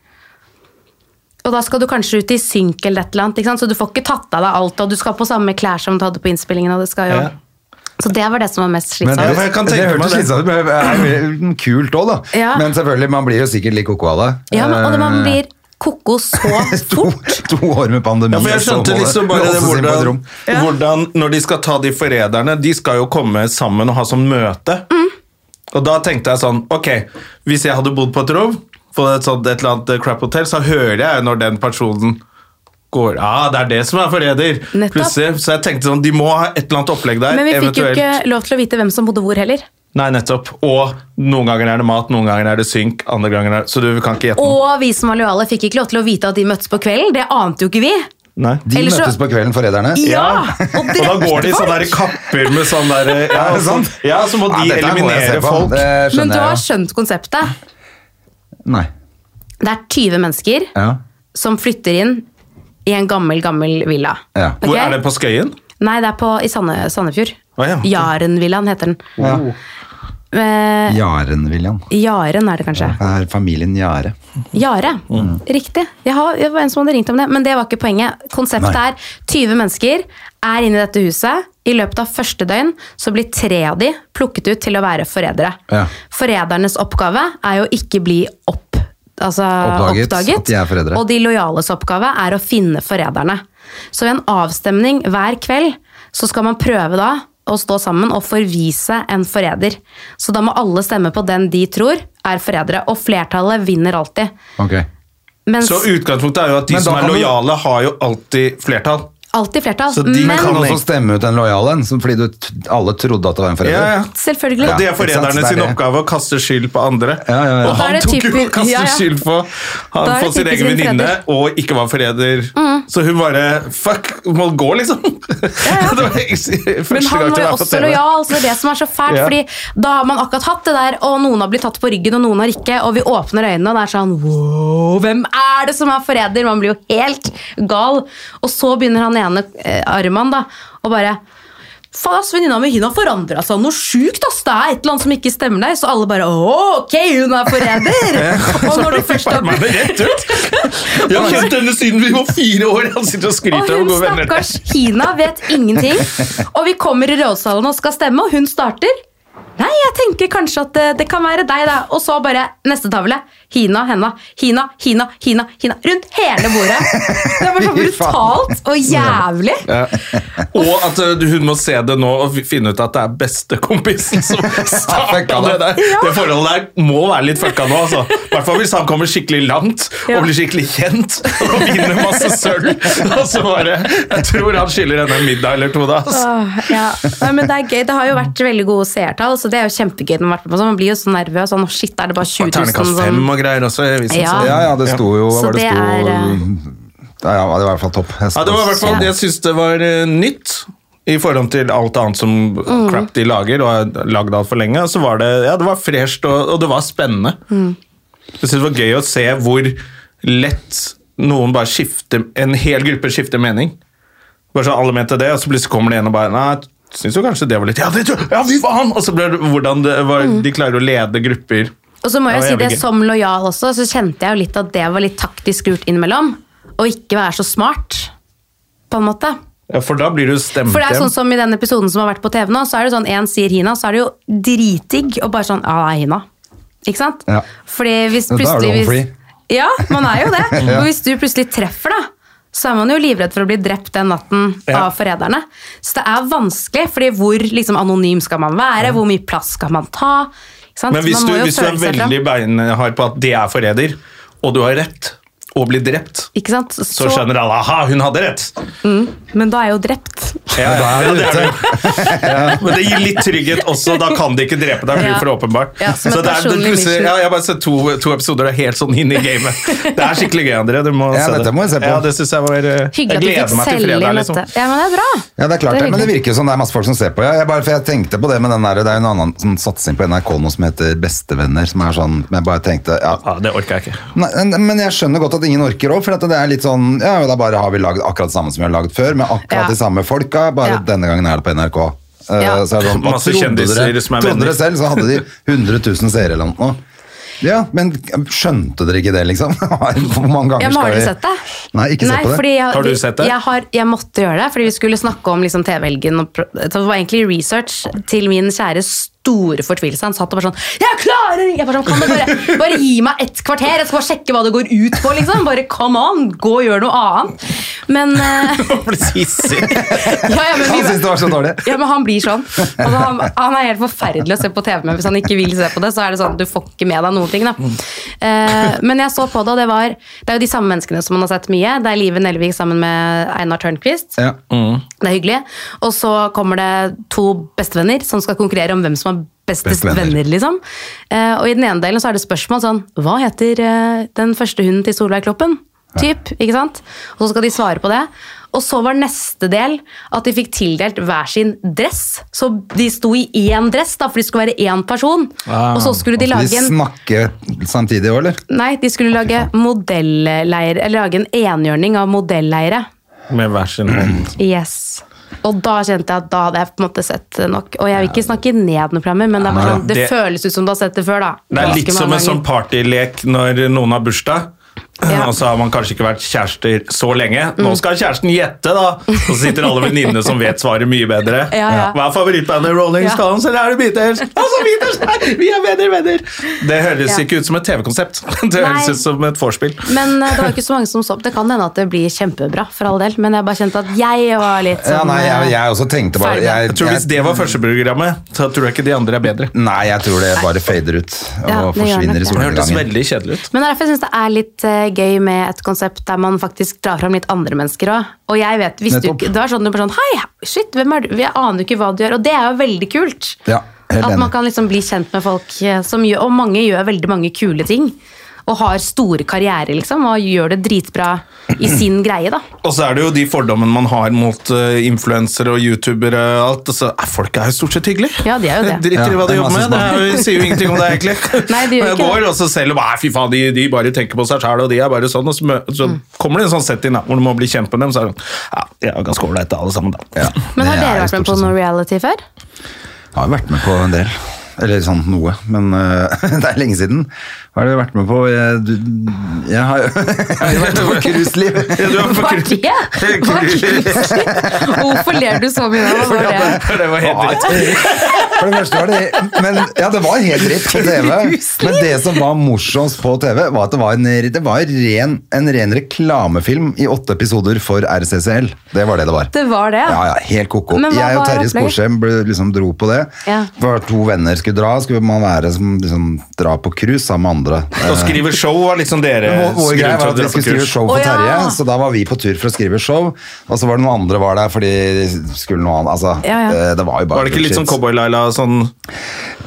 Og da skal du kanskje ut i synk eller et eller annet, ikke sant? så du får ikke tatt av deg alt, og du skal på samme klær som du hadde på innspillingen, og det skal jo Ja. Så det var det som var mest Men slitsomt. for jeg kan det tenke meg hørtes det. litt sånn ut, men det er veldig kult òg, da. Ja. Men selvfølgelig, man blir jo sikkert litt koko av det. Ja, men, og det, man Eh, blir ko-ko så to, fort. to år med pandemi, Ja, for jeg og så må skjønte det liksom bare det, låses inn på et hvordan, rom. hvordan Når de skal ta de forræderne, de skal jo komme sammen og ha sånn møte. Mm. Og da tenkte jeg sånn Ok, hvis jeg hadde bodd på et rom, på et, sånt, et eller annet eh, crap hotell, så hører jeg når den personen går Ja, ah, det er det som er forræder! Nettopp. Plutselig. Så jeg tenkte sånn De må ha et eller annet opplegg der. Men vi fikk jo eventuelt. ikke lov til å vite hvem som bodde hvor heller. Nei, nettopp. Og noen ganger er det mat, noen ganger er det synk, andre ganger er det Så du kan ikke gjette noe. Og vi som var lojale, fikk ikke lov til å vite at de møttes på kvelden. Det ante jo ikke vi. Nei. De Ellers så- møttes på kvelden, forræderne. Ja! Og Og da går de i drepte sånne folk. der kapper med sånn der Ja, Er det sånn, sant? ja så må Ja, de dette her må jeg se eliminere på. Eh, folk. Det skjønner Men du jeg har jo. skjønt konseptet. Nei. Det er 20 mennesker Ja. som flytter inn i en gammel, gammel villa. Ja. Ok? Hvor er det på Skøyen? Nei, det er på, i Sande, Sandefjord. Å, ja. Jarenvillaen heter den. Eh, Jaren, William. Jaren er det kanskje. Det er familien Jare. Jare. Mm. Riktig. Jeg har, det var en som hadde ringt om det, men det var ikke poenget. Konseptet Nei. er 20 mennesker er inne i dette huset. I løpet av første døgn så blir tre av de plukket ut til å være forrædere. Ja. Forrædernes oppgave er jo ikke bli opp, altså, Oppdaget oppdaget, at de er forrædere. Og de lojales oppgave er å finne forræderne. Så ved en avstemning hver kveld så skal man prøve da å stå sammen og forvise en forræder. Så da må alle stemme på den de tror er forrædere, og flertallet vinner alltid. Ok. Mens Så utgangspunktet er jo at de Men da som er kan du- lojale, har jo alltid flertall. alltid flertall. Så de men Kan også stemme ut en lojal en, som- fordi du t alle trodde at det var en forræder. Ja, ja. selvfølgelig. Og det Ja, er ikke sant, forræderne det er sin det. oppgave å kaste skyld på andre. Ja, ja, ja. Og Da er han det tok jo typisk- kaste ja, ja. skyld på Han Da er det for sin typisk egen en Mm. venninne forræder. og ikke var forræder. Så hun bare Fuck, må gå, liksom. det var første Men han gang var til å være jo på også TV. lojal, så det er det som er så fælt. Ja. Fordi da har man akkurat hatt det der, og noen har blitt tatt på ryggen, og noen har ikke, og vi åpner øynene, og det er sånn wow, hvem er det som er forræder? Man blir jo helt gal. Og så begynner han ene eh, Arman, da, og bare Faen, ass, venninna mi hun har forandra seg noe sjukt, ass! Det er et eller annet som ikke stemmer der. Så alle bare Å, ok, hun er forræder! og når du først har Meg rett ut. Jeg har kjent henne siden vi var fire år. Han sitter og Og skryter av hun gode venner. stakkars Kina vet ingenting. Og vi kommer i rådsalen og skal stemme, og hun starter. Nei, jeg tenker kanskje at det, det kan være deg, da. Og så bare neste tavle. Hina, henna, Hina, Hina, Hina. Hina. Rundt hele bordet. Det var så Fy faen. brutalt og jævlig. Og at ø, hun må se det nå og fi- finne ut at det er bestekompisen som starta Fucka det det. der. Det forholdet der må være litt fucka nå, altså. I hvert fall hvis han kommer skikkelig langt Ja. og blir skikkelig kjent og vinner masse sølv. Og så bare Jeg tror han skylder henne en middag eller to, da. altså. Åh, ja. Nei, men Det er gøy. Det har jo vært veldig gode seertall, så det er jo kjempegøy. når Man har vært med på sånn. Man blir jo så nervøs. Sånn, shit, er det bare 20 000 Ternekast fem som og greier også. i avisen, Ja. så- Ja, ja, det sto jo Så hva var det, det sto, er, eh, ja, ja, det var i hvert fall topp. Jeg Ja, det var i hvert fall, Ja. Jeg syns det var eh, nytt i forhold til alt annet som Mm. crap de lager, og har lagd altfor lenge. Så var det, ja, det var fresht, og, og det var spennende. Mm. Jeg synes det var gøy å se hvor lett noen bare skifter En hel gruppe skifter mening. Bare så alle mente det, og så plutselig kommer det en og bare Nei, syns jo kanskje det var litt Ja, det tror jeg! Ja, fy faen! Og så ble det hvordan det var, Mm. de klarer å lede grupper. Og så må Det jeg jo si var det jævlig gøy. som lojal også, så kjente jeg jo litt at det var litt taktisk lurt innimellom. Å ikke være så smart, på en måte. Ja, For da blir du stemt For det Mm, er hjem. sånn som i den episoden som har vært på TV nå, så er det sånn én sier Hina, så er det jo dritdigg og bare sånn Ja, det er Hina. Ikke sant? Ja. Fordi hvis Da er du plutselig home free. hvis, Ja, man er jo det. Og hvis du plutselig treffer, da, så er man jo livredd for å bli drept den natten Ja. av forræderne. Så det er vanskelig, fordi hvor liksom, anonym skal man være? Hvor mye plass skal man ta? Ikke sant? Men hvis Altså, man du, må jo hvis du er føle seg fram. veldig beinhard på at det er forræder, og du har rett, og blir drept, Ikke sant? så skjønner alle aha, hun hadde rett. Men da er jeg jo drept. Ja, ja, Da er ja, du det er ute. det. Men det gir litt trygghet også, da kan de ikke drepe deg, for det Ja. blir for åpenbart. Ja, som et Så det er, det, personlig plutselig- mission. ja, jeg har bare sett to, to episoder, det er helt sånn inn i gamet. Det er skikkelig gøy, André. Du må Ja, se dette det. må jeg se på. Ja, det synes jeg var eh, Hyggelig Jeg at du fikk gleder meg til selge fredag, inn liksom. dette. Ja, men det er bra. Ja, det er klart det, men det hyggelig. virker jo som det er masse folk som ser på. Ja, jeg bare, for jeg tenkte på det med den der, det er jo en annen sånn satsing på NRK nå som heter Bestevenner, som er sånn, men jeg bare tenkte, ja, Ja, det orker jeg ikke. Nei, men- men jeg skjønner godt at ingen orker òg, for at det er litt sånn Ja, da bare har vi lagd akkurat det samme som vi har lagd før, med akkurat Ja. de samme folka, bare Ja. denne gangen er det på NRK. Eh, Ja. Så er det sånn, hva Masse trodde kjendiser dere, som er Trodde venner. dere selv, så hadde de 100 000 seere eller noe. Ja, men skjønte dere ikke det, liksom? Hvor mange ganger Ja, men skal har vi du sett det? Nei, ikke Nei, se på det. fordi Jeg, Har du sett det? Jeg, har, jeg måtte gjøre det, fordi vi skulle snakke om liksom, TV-helgen. og pro- Så det var egentlig research til min kjære store fortvilelse. Han satt og bare sånn Jeg klarer ikke!» Jeg bare sånn, Kan du bare, bare gi meg et kvarter, jeg skal bare sjekke hva det går ut på, liksom. Bare come on, gå og gjør noe annet. Men, eh, Jeg blir hissig. ja, ja, men Han vi, syntes det var så dårlig. Ja, men han blir sånn. Altså, han, han er helt forferdelig å se på TV med. Hvis han ikke vil se på det, så er det sånn du får ikke med deg noen ting. Da. Eh, men jeg så på det, og det var Det er jo de samme menneskene som man har sett mye. Det er Live Nelvik sammen med Einar Tørnquist. Ja. Det er hyggelig. Og så kommer det to bestevenner som skal konkurrere om hvem som er bestest Bestevenner. venner. liksom. Eh, og i den ene delen så er det spørsmål sånn Hva heter eh, den første hunden til Solveig Kloppen? Typ, ikke sant? Og så skal de svare på det. Og så var neste del at de fikk tildelt hver sin dress. Så de sto i én dress, da, for de skulle være én person. Ah, og så skulle de De lage en snakker samtidig òg, eller? Nei, de skulle lage modelleire, eller lage en enhjørning av modelleire. Med hver sin hånd. Yes. Og da kjente jeg at da hadde jeg på en måte sett nok. Og jeg vil ikke snakke ned noen programmer, men det, er bare sånn, det, det- føles ut som du har sett det før. da. Det er litt Ganske som en mange sånn ganger. partylek når noen har bursdag. Ja. Mm. Og så har man kanskje ikke vært kjærester så lenge. Nå skal kjæresten gjette, da! Og så sitter alle venninnene som vet svaret mye bedre. Ja, ja. Hva er favorittbandet? Rolling Ja. Stones eller er det Beatles? Altså, Beatles! Nei, Vi er venner, venner! Det høres Ja. ikke ut som et TV-konsept. Det høres Nei. ut som et vorspiel. Men eh, det var ikke så mange som så opp. Det kan hende at det blir kjempebra, for all del, men jeg bare kjente at jeg var litt sånn Ja, nei, jeg, eh, jeg også tenkte bare Ferdig. jeg, Jeg tror Hvis det var første programmet, så tror jeg ikke de andre er bedre. Nei, jeg tror det bare fader ut og Ja, det gjør nok forsvinner i det. Det hørtes solnedgangen. veldig kjedelig ut. Men det er derfor jeg synes det er litt eh, gøy med et konsept der man faktisk drar fram litt andre mennesker òg. Og jeg vet, hvis du, Nettopp. ikke- det var sånn du bare sånn Hei, shit, hvem er du? Jeg aner jo ikke hva du gjør. Og det er jo veldig kult. Ja, helt At man enig. kan liksom bli kjent med folk eh, som gjør Og mange gjør veldig mange kule ting. Og har store karrierer, liksom. Og gjør det dritbra i sin greie, da. Og så er det jo de fordommene man har mot eh, influensere og youtubere og alt. Altså, eh, folk er jo stort sett hyggelige. Ja, de er jo det. Driter i Ja, hva det de er jobber masse med. Det er, jo- sier jo ingenting om det, egentlig. Nei, de Men jeg gjør ikke det. går også selv og bare, fy faen, de, de bare tenker på seg sjæl, og de er bare sånn. Og så, mø- så Mm. kommer det en sånn setting da, hvor du må bli kjent med dem, så er det sånn Ja, jeg er ganske ålreit, alle sammen, da. Ja, Men har det er dere vært stort med på sett noe sånn. reality før? Jeg har vært med på en del. Eller sånn noe, men øh, det er lenge siden. Hva har du vært med på? Jeg, du, jeg har jo jeg har jo vært med på cruiseliv. Ja, du er Hva er for- det? Hva er det? Hvorfor ler du så mye av det? det var helt dritt. For det første var det men, Ja, det var helt dritt på TV. Men det som var morsomst på TV, var at det var en, det var ren, en ren reklamefilm i åtte episoder for RCCL. Det var det det var. Det var det. Ja, ja, helt koko. Men hva Jeg og var Terje opplegget? Sporsem ble- liksom dro på det. Ja. Det var to venner skulle dra, skulle man være som liksom, dra på cruise sammen med andre. Eh, Å skrive show var liksom dere Vår, vår grunn greie var til å at vi dra på skulle skrive kurs. show for Å, ja. Terje, så da var vi på tur for å skrive show. Og så var det noen andre var der fordi de skulle noe annet. Altså, Ja, ja. eh, Det var jo bare Var det ikke litt bullshit. sånn Cowboy-Laila sånn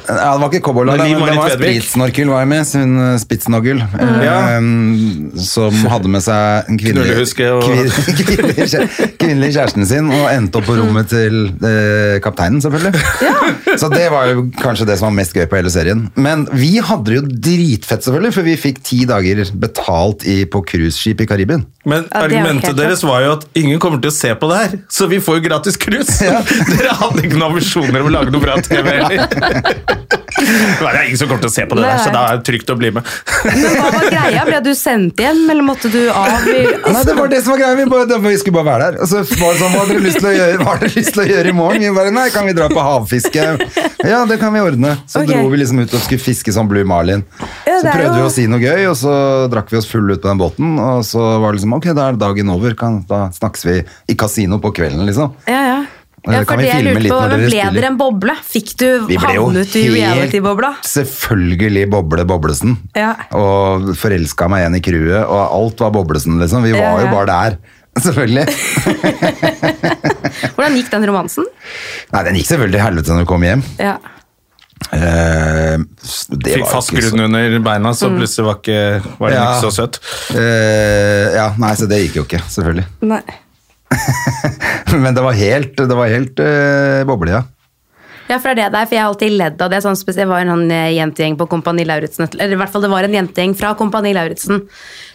Ja, det var ikke cowboy men Men vi var det litt var Vedvik. spritsnorkel var jeg med, så hun eh, spitsnoggel, eh, Ja. em, som hadde med seg en kvinnelig, Knullehuske og- kvin- kvinnelig, kjæ- kvinnelig kjæresten sin, og endte opp på rommet til eh, kapteinen, selvfølgelig. Så det var jo kanskje det som var mest gøy på hele serien. Men vi hadde det jo dritfett, selvfølgelig, for vi fikk ti dager betalt i, på cruiseskip i Karibien. Men Ja, det er jo argumentet helt deres var jo at ingen kommer til å se på det her, så vi får jo gratis cruise! Dere hadde ikke noen ambisjoner om å lage noe bra TV heller. Nei, Det er ingen som kommer til å se på det Nei. der, så da er det trygt å bli med. Men hva var greia? Ble du sendt hjem, eller måtte du av? i- Altså- Nei, det var det som var greia. Vi, bare, det- vi skulle bare være der. Og så var det sånn, hva har dere lyst til å gjøre, hva har dere lyst til å gjøre i morgen? Vi bare, nei, kan vi dra på havfiske? Ja, det kan vi ordne. Så Ok. dro vi liksom ut og skulle fiske sånn blue marlin. Ja, Så det er prøvde vi jo- å si noe gøy, og så drakk vi oss fulle ut på den båten. Og så var det liksom, ok, da er dagen over. Kan, da snakkes vi i kasino på kvelden, liksom. Ja, ja. Ja, det Ja, for kan vi det jeg filme lurte litt på, når men dere Ble spiller. dere en boble? Fikk du Vi ble jo havnet i reality-bobla? selvfølgelig boble Boblesen. Ja. Og forelska meg igjen i crewet, og alt var Boblesen, liksom. Vi var Ja, jo ja. bare der. Selvfølgelig. Hvordan gikk den romansen? Nei, den gikk selvfølgelig til helvete når du kom hjem. Ja. Eh, det Fikk var fast ikke så- grunn under beina, Mm. så plutselig var, ikke, var den Ja. ikke så søt. Eh, ja, nei, så det gikk jo ikke, selvfølgelig. Nei. Men det var helt, det var helt eh, boble, ja. Ja, for det er det der, for jeg har alltid ledd av det. Sånn, spesielt- det var en sånn, eh, jentegjeng på Kompani Lauritzen, eller i hvert fall det var en jentegjeng fra Kompani Lauritzen,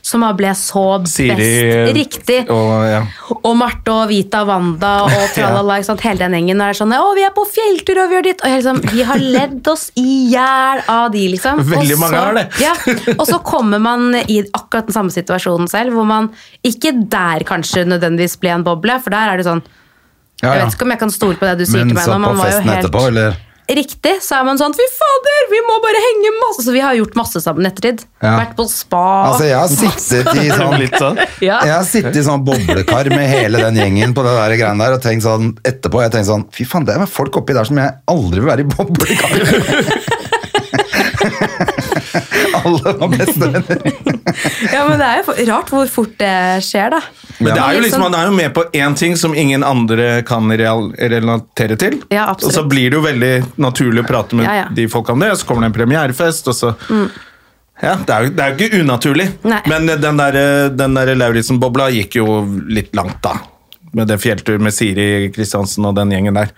som bare ble så best. eh, Siri- Riktig. Og, ja. Og Marte og Vita og Wanda og tralala, ikke sant? hele den gjengen. Og er sånn, å, vi er på fjelltur og vi gjør ditt. Og jeg liksom, vi har ledd oss i hjel av de, liksom. Veldig Og så- mange har det. Ja, og så kommer man i akkurat den samme situasjonen selv, hvor man ikke der kanskje nødvendigvis ble en boble, for der er det sånn, ja, jeg ja. vet ikke om jeg kan stole på det du sier Men til meg så nå, på man var jo festen helt... etterpå, eller? Riktig, så er man sånn, fy fader, vi må bare henge masse. Så vi har gjort masse sammen ettertid. Ja. Vært på spa. Altså, jeg har sittet i sånn Litt sånn. Ja. Jeg har sittet i sånn boblekar med hele den gjengen på det der greiene der, og tenkt sånn etterpå, jeg tenkt sånn, fy faen, det er folk oppi der som jeg aldri vil være i boblekar med. Alle var bestevenner. ja, men det er jo rart hvor fort det skjer, da. Men det er jo liksom, Liksom- Man er jo med på én ting som ingen andre kan real- relatere til. Ja, og absolutt. så blir det jo veldig naturlig å prate med Ja, ja. de folka om det, og så kommer det en premierefest, og så Ja, det er, jo, det er jo ikke unaturlig, Nei. men eh, den der, den der Lauritzen-bobla gikk jo litt langt, da. Med det fjelltur med Siri Kristiansen og den gjengen der.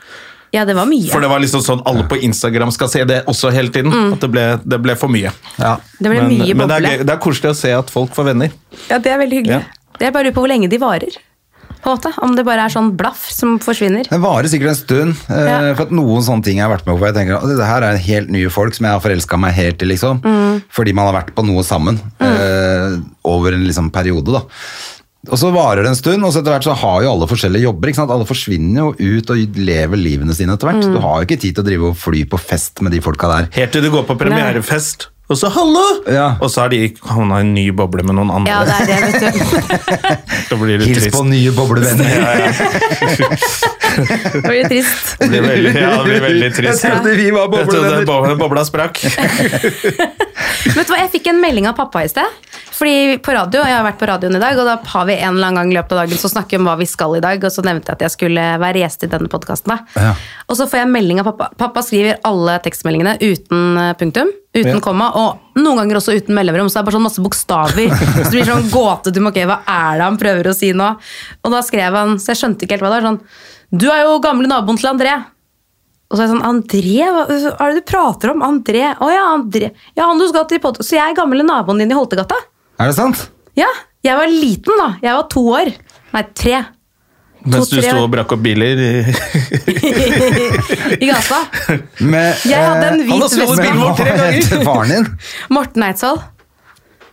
Ja, det var mye. For det var liksom sånn alle på Instagram skal se det også hele tiden. At det ble, det ble for mye. Det ble men mye men det, er boble. gøy, det er koselig å se at folk får venner. Ja, det er veldig hyggelig. Ja. Det er bare lurer på hvor lenge de varer. på en måte. Om det bare er sånn blaff som forsvinner. Det varer sikkert en stund, eh, Ja. for at noen sånne ting jeg har vært med på. hvor Jeg tenker, at det her er helt nye folk som jeg har forelska meg helt i, liksom. Mm. Fordi man har vært på noe sammen eh, over en liksom, periode, da. Og så varer det en stund, og så etter hvert så har jo alle forskjellige jobber. ikke sant? Alle forsvinner jo ut og lever livene sine etter Mm. hvert. Du har jo ikke tid til å drive og fly på fest med de folka der. Helt til du går på premierefest, og så 'hallo!' Ja. Og så har de havna i en ny boble med noen andre. Ja, det er det, vet du. Da blir det Hils trist. på nye boblevenner. Ja, ja. Det blir trist. Det blir veldig, ja, det blir veldig trist. Jeg trodde vi var Jeg trodde boblevenner. bo- Bobla sprakk. Vet du hva, jeg fikk en melding av pappa i sted. Fordi på radio, Jeg har vært på radioen i dag, og da har vi en eller annen gang i løpet av dagen så snakker vi om hva vi skal i dag. Og så nevnte jeg at jeg skulle være gjest i denne podkasten. Ja. Og så får jeg en melding av pappa. Pappa skriver alle tekstmeldingene uten eh, punktum. Uten Ja. komma, og noen ganger også uten mellomrom. Så det er bare sånn masse bokstaver. Så det blir sånn gåte. Du må ok, hva er det han prøver å si nå? Og da skrev han, så jeg skjønte ikke helt hva det var, sånn Du er jo gamle naboen til André. Og så er jeg sånn, André, hva hva er det du prater om? André, å ja, André. Ja, han du skal til pod- Så jeg er gamle naboen din i Holtegata? Er det sant? Ja, jeg var liten da. Jeg var to år. Nei, tre. Mens du tre. sto og brakk opp biler. i- I gata. Med, Jeg hadde en eh, hvit vespe. med- med Faren din? Morten Eidsvoll.